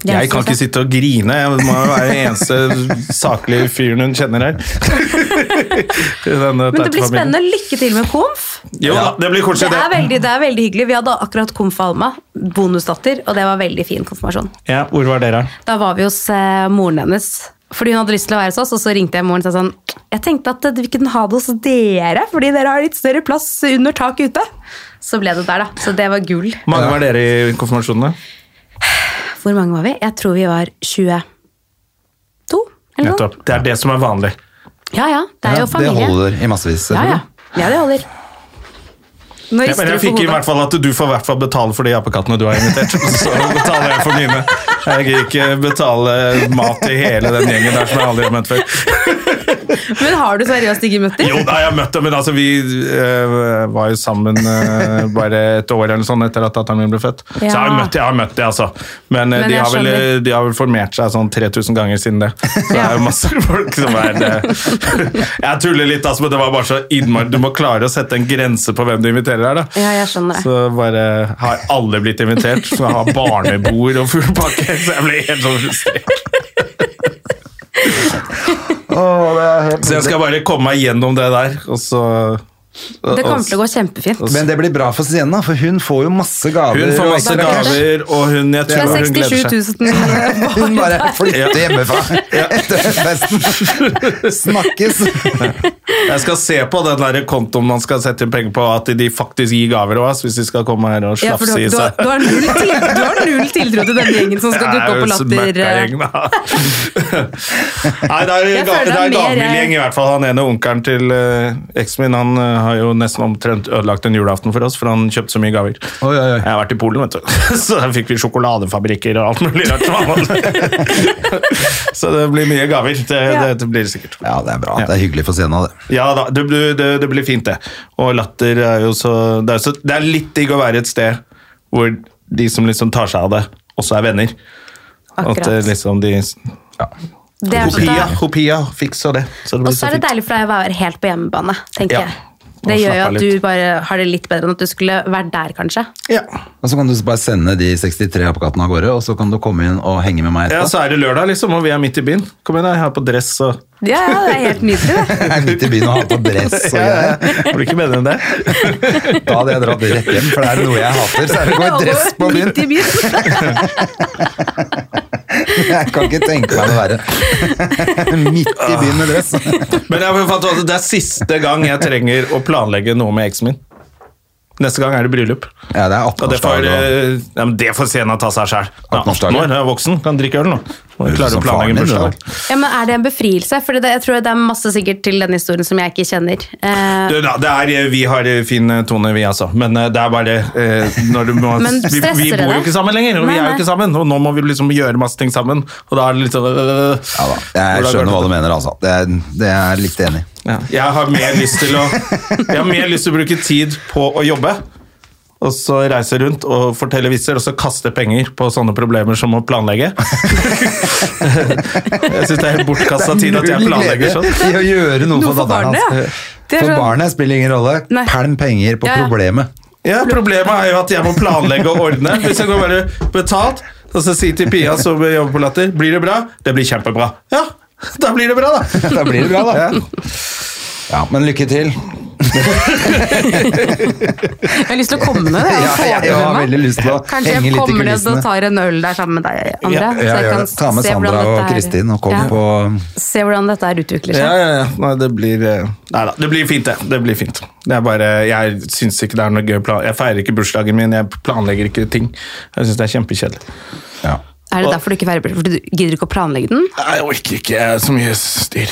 Det er Jeg kan sånn ikke som- sitte og grine. Jeg må jo være den eneste saklige fyren hun kjenner her. I denne Men det blir tertefamilien. spennende. Lykke til med komf. Jo da, det blir Det koselig, er, det. veldig, det er veldig hyggelig. Vi hadde akkurat komf Alma, bonusdatter, og det var veldig fin konfirmasjon. Ja, hvor var dere? Da var vi hos eh, moren hennes. Fordi hun hadde lyst til å være hos oss, og så ringte jeg moren og sa sånn Jeg tenkte at eh, vi kunne ha det hos dere, fordi dere har litt større plass under taket ute. Så ble det der, da. Så det var gull. Mange var dere i konfirmasjonene? Hvor mange var vi? Jeg tror vi var 22 eller noe. Nettopp. Det er det som er vanlig. Ja, ja. Det er Ja, jo familie. Det holder i massevis. Ja, ja. selvfølgelig. ja, det holder. Nå Ja, men rister jeg du på fikk i hodet. hvert fall at du får i hvert fall betale for de apekattene du har invitert. Så betaler jeg for mine. Jeg gidder ikke betale mat til hele den gjengen der som jeg aldri har møtt før. Men har du seriøst ikke møtt dem? Jo da, jeg har møtt dem, men altså, vi eh, var jo sammen eh, bare et år eller sånn etter at datteren min ble født. Så jeg har Ja. møtt det, jeg har møtt det, altså. Men, eh, Men de, jeg har vel, skjønner. de har vel formert seg sånn 3000 ganger siden det. Så det er jo masse folk som er det. Jeg tuller litt, altså, men det var bare så innmari Du må klare å sette en grense på hvem du inviterer her, da. Ja, jeg skjønner det. Så bare har alle blitt invitert. Så har barnebord og full pakke. Så jeg ble helt sånn frustrert. Så jeg skal bare komme meg gjennom det der, og så Det kommer til å gå kjempefint. Men det blir bra for Sienna, for hun får jo masse gaver. Hun får og masse ekstra cash. gaver, og hun jeg Det tror er hun gleder seg. 67 000. Hun bare flytter hjemmefra etter festen. Snakkes! Jeg skal se på den der kontoen man skal sette inn penger på, at de faktisk gir gaver òg, hvis de skal komme her og Ja, for du, slafse i du, har, seg. du, har null til, du har null tiltro til denne gjengen som skal dukke opp på Latter. eh, Nei, det er, Jeg ga- det er føler det er mer, gavemild eh, gjeng, i hvert fall. Han ene onkelen til eh, eksen min han eh, har jo nesten omtrent ødelagt en julaften for oss, for han kjøpte så mye gaver. Oi, oi, oi. Jeg har vært i Polen, vet du. Så der fikk vi sjokoladefabrikker og alt mulig rart. som han hadde. så det blir mye gaver. Det, det, det blir det sikkert. Ja, det er bra. Det er hyggelig for Sienna, det. Ja da, det, blir- det, det blir fint, det. Og latter er jo så det er, så det er litt digg å være et sted hvor de som liksom tar seg av det, også er venner. At Akkurat. eh, liksom de Det er så Hopia, da- Hopia fiksa det. Så det Og blir så så er det fint. deilig for deg å være helt på hjemmebane, tenker Ja. jeg. Og Det gjør jo slappe av at litt. du bare har det litt bedre enn at du skulle vært der, kanskje. Ja. Og så kan du bare sende de 63 oppkattene av gårde, og så kan du komme inn og henge med meg Ja, etterpå. så er det lørdag, liksom, og vi er midt i byen. Kom igjen, da, jeg har på dress og Ja, ja, det er helt nydelig, det. Jeg er midt i byen og har på dress og greier. Det Blir ikke bedre enn det. Da hadde jeg dratt rett hjem, for det er noe jeg hater. Så er det å gå i dress på byen. Midt i byen. Jeg kan ikke tenke meg noe verre. Midt i byen med dress. Men jeg har fått, det er siste gang jeg trenger å planlegge noe med eksen min. Neste gang er det bryllup. Ja, det er Og det får, 18-årsdag. og- eh, ja, men det får Sena ta seg sjæl. Nå 18-årsdag, nå ja. er jeg voksen, kan drikke øl nå. Må jeg Høres ut klare å som faren planlegge en din, det bursdag. Ja, men er det en befrielse? For det, jeg tror det er masse sikkert til denne historien som jeg ikke kjenner. Eh, Du, da, det er, vi har eh, fin eh, tone, vi altså. Men eh, det er bare eh, når du må, Men vi, stresser vi det bor jo deg? ikke sammen lenger, og Nei, vi er nei. jo ikke sammen. Og nå må vi liksom gjøre masse ting sammen. Og da er det litt sånn øh, Ja da, jeg hvordan går skjønner det? hva du mener, altså. Det er, det er jeg litt enig. i. Ja. Jeg har mer lyst til å Jeg har mer lyst til å bruke tid på å jobbe. Og så reise rundt og fortelle vitser, og så kaste penger på sånne problemer som å planlegge. jeg syns det er helt bortkasta tid at jeg Null planlegger glede sånn. I å gjøre noe, Noe for for datteren barnet, hans. ja. Det er For sånn- barnet spiller ingen rolle. Nei. Pælm penger på Ja, ja. problemet. Ja, Problemet er jo at jeg må planlegge og ordne. Hvis jeg går bare betalt, og så si til Pia som jobber på Latter Blir det bra? Det blir kjempebra. Ja, da blir det bra, da. Da blir det bra, da. Ja, men lykke til. jeg har lyst til å komme ned. Ja, Jeg, jeg, jeg har veldig lyst til å Kanskje henge jeg litt i kommer ned og kulissene. tar en øl der sammen med deg, André. Ja, så Ja, jeg gjør kan det. Ta med se hvordan Sandra og dette her- Kristin og kom Ja. på Se hvordan dette her utvikler Ja, seg. ja, ja. Nei, det blir eh, Nei da, det blir fint, det. Det blir fint. Det er bare, jeg syns ikke det er noe gøy plan... Jeg feirer ikke bursdagen min, jeg planlegger ikke ting. Jeg syns det er kjempekjedelig. ja. Er det derfor du ikke feirer bursdag? Fordi du gidder ikke å planlegge den? Nei, Jeg orker ikke jeg er så mye styr.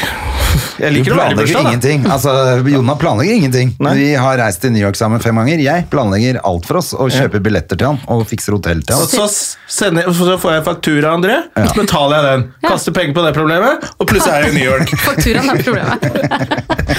Jeg Du liker å være i planlegger bursdag, da. ingenting. Altså, Jonna planlegger ingenting. Nei. Vi har reist til New York sammen fem ganger. Jeg planlegger alt for oss og kjøper billetter til han og fikser hotell til Og han. så, s- sender, så får jeg faktura, André, så betaler jeg den. Ja. Kaster penger på det problemet, og plutselig er jeg i New York. Fakturaen er problemet.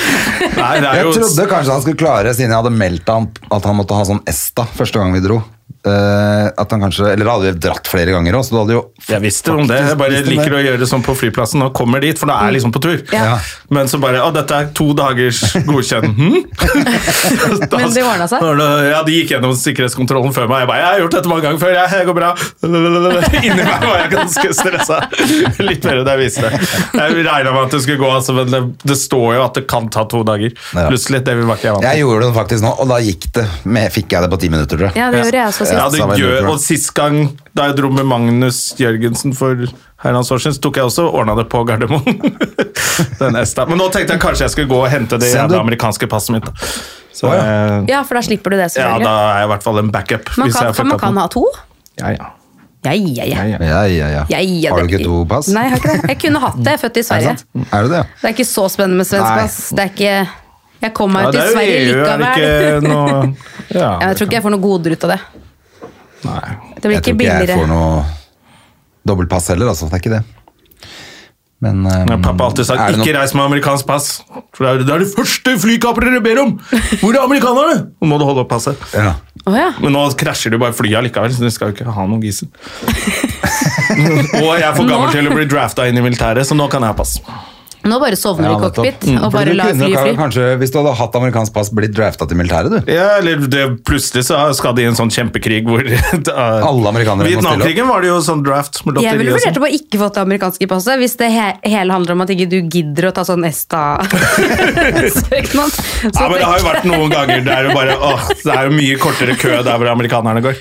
Nei, det er Jeg jo trodde kanskje han skulle klare, siden jeg hadde meldt han at han måtte ha sånn ESTA første gang vi dro. Eh, at han kanskje, eller da hadde vi dratt flere ganger også, så du hadde jo Jeg visste om det. Jeg bare Visste om det. liker å gjøre det sånn på flyplassen og kommer dit, for da er jeg liksom på tur. Ja. Men så bare Å, dette er to dagers godkjenning. Hm? Da- Men det ordnet seg. Når det- Ja, de gikk gjennom sikkerhetskontrollen før meg. Jeg bare Jeg har gjort dette mange ganger før, jeg. Det går bra. Inni meg var jeg ganske stressa. Litt mer enn jeg visste. Jeg regna med at det skulle gå, altså, men det, det står jo at det kan ta to dager. Ja. Plutselig. Det var ikke jeg vant til. Jeg gjorde det faktisk nå, og da gikk det. Med, fikk jeg det på ti minutter, tror jeg. Ja, det gjorde jeg også sist. Ja, det Samme gjør, innhold. og sist gang da jeg dro med Magnus Jørgensen for herrens år siden, så tok jeg også og ordna det på Gardermoen. Den esta. Men nå tenkte jeg kanskje jeg skulle gå og hente det Send jævla du- amerikanske passet mitt. da. Så, Å, eh, Ja, for da slipper du det, ja, selvfølgelig. da er jeg i hvert fall en backup. man hvis kan, jeg for man fucker kan opp ha to. noe. Ja, ja. Ja, ja, ja. Ja, ja. Ja, ja, ja. Ja, ja, har du det- ikke to pass? Nei, jeg har ikke det. Jeg kunne hatt det. Jeg er født i Er det Sverige. sant? Er det det? Det er ikke så spennende med svensk Nei. pass. Det er ikke Jeg kom meg Ja, ut det i er jo Sverige EU, er det likevel. ikke noe ja, Ja, jeg tror ikke jeg får noe goder ut av det. Nei. Jeg Det blir ikke tror ikke jeg billigere. får noe dobbeltpass heller, altså. Det er ikke det. Men eh, Ja, pappa har alltid sagt er det 'ikke noe- reis med amerikansk pass'. For det er det, er det første flykaprere dere ber om! Hvor er amerikanerne?! Nå må du holde opp passet. Ja. Å ja. Men nå krasjer du bare flyet likevel, så du skal jo ikke ha noen gissel. og jeg er for gammel til å bli drafta inn i militæret, så nå kan jeg ha pass. Nå bare sovner Ja, du i nettopp. cockpit Mm. og Fordi bare du lar kunne fly jo fly. Kanskje, hvis du hadde hatt amerikansk pass, blitt drafta til militæret, du. Ja, eller det, plutselig så skal de i en sånn kjempekrig hvor Alle amerikanere må stille opp. Vietnamkrigen var det jo sånn draft med Jeg lotteri ville og vurdert sånn. å bare ikke fått det amerikanske passet hvis det he hele handler om at ikke du gidder å ta sånn ESTA-søknad. Ja, men det har jo vært noen ganger det er jo bare åh, det er jo mye kortere kø der hvor amerikanerne går.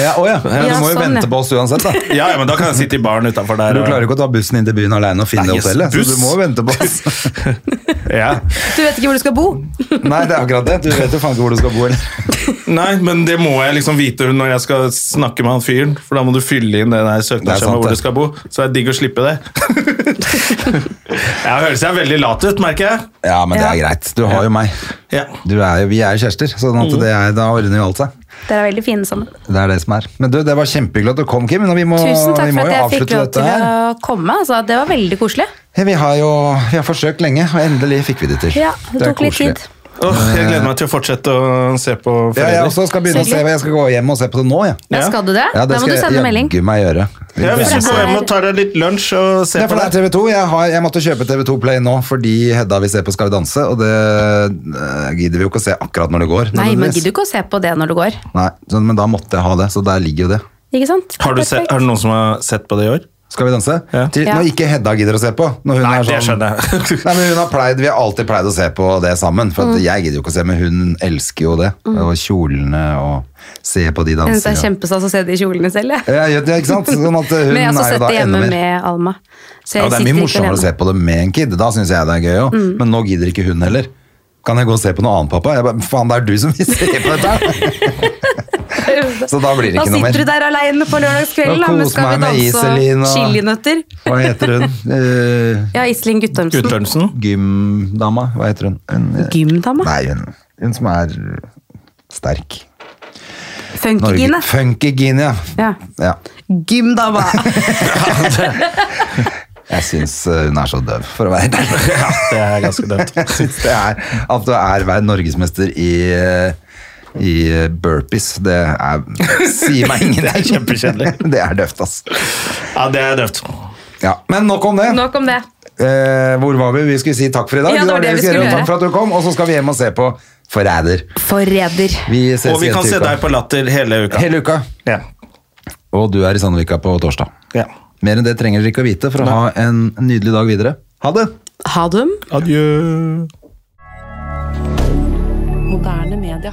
Ja, å ja. Du Ja, må jo sånn, vente ja. på oss uansett, da. Ja, ja, men da kan jeg sitte i baren utafor der. Du og- klarer jo ikke å ta bussen inn til byen alene og finne Nei, det hotellet, buss. så du må jo vente på oss. ja. Du vet ikke hvor du skal bo. Nei, det er akkurat det. Du vet jo faen ikke hvor du skal bo. Eller? Nei, men det må jeg liksom vite når jeg skal snakke med han fyren, for da må du fylle inn det der Det er sant, søknadsskjemaet hvor det. du skal bo. Så det er digg å slippe det. jeg høres jeg veldig lat ut, merker jeg. Ja, men det er greit. Du har jo meg. Ja. Mm. Du er jo, vi er jo kjærester, så det er, da ordner jo alt seg. Dere er veldig fine sammen. Det er det som er. Men du, det var kjempehyggelig at du kom, Kim. og Vi må, Tusen takk vi må jo for at jeg fikk avslutte lov dette til her. å komme. Altså, det var veldig koselig. Ja, Vi har jo vi har forsøkt lenge, og endelig fikk vi det til. Ja, det, er tok litt koselig. tid. Åh, jeg gleder meg til å fortsette å se på Ja, jeg Foreldre. også skal begynne å se, jeg skal gå hjem og se på det nå. Ja. Ja, Ja. skal du det? Ja, da må du sende melding. jaggu meg gjøre. Ja, hvis For du det går er- hjem og tar deg litt lunsj og Det ser er for på det det. er TV2. Jeg, har, jeg måtte kjøpe TV2 Play nå fordi Hedda vil se på Skal vi danse, og det eh, gidder vi jo ikke å se akkurat når det går. Nei, man nødvendigvis. gidder jo ikke å se på det når du går. Nei, så, men da måtte jeg ha det, så der ligger jo det. Ikke sant? Har, du se, Perfekt. har det noen som har sett på det i år? Skal vi danse? Ja. Til, Ja. Når ikke Hedda gidder å se på. Når hun Nei, er det sånn, skjønner jeg. Nei, men hun har pleid, Vi har alltid pleid å se på det sammen. For Mm. at Jeg gidder jo ikke å se, men hun elsker jo det. Og kjolene og se på de Jeg synes det Mm. er dansene. kjempestas å se de kjolene selv, jeg. Ja, ja, ikke sant? Sånn at hun Men jeg har er jo også sett da det enda hjemme mer med Alma. Så Ja, det jeg er sitter mye ikke morsommere å se alene. på det med en kid. Da syns jeg det er gøy òg. Mm. Men nå gidder ikke hun heller. Kan jeg gå og se på noe annet, pappa? Jeg bare, Faen, det er du som vil se på dette! Så da blir det ikke Da noe mer. sitter du der aleine på lørdagskvelden Da da, med koser Skal vi meg med danse Iselin og og- chilinøtter. Hva heter hun? Eh, Ja, Iselin Guttormsen. Utlørnsen? gymdama, hva heter hun? hun eh, Gymdama? nei, hun, hun som er sterk. Funkygine? Funkygine, ja. Ja. ja. Gymdama! Jeg syns eh, hun er så døv, for å være helt ærlig. Ja, det er ganske dømt. Jeg synes det er At du er hver norgesmester i eh, i eh, burpees, det er sier meg ingenting. Det er kjempekjedelig. Det er døvt, ass. Ja, det er døvt. Ja, men nok om det. Nok om det. Eh, hvor var vi? Vi skulle si takk for i dag. Ja, det var det vi skulle gjøre. gjøre. Takk for at du kom, og så skal vi hjem og se på Forræder. Forræder. Vi ses Og vi igjen kan til se uka. deg på Latter hele uka. hele uka. Ja. Og du er i Sandvika på torsdag. ja. Mer enn det trenger dere ikke å vite for å ha en nydelig dag videre. Ha det! Ha dem. Adjø. Moderne media.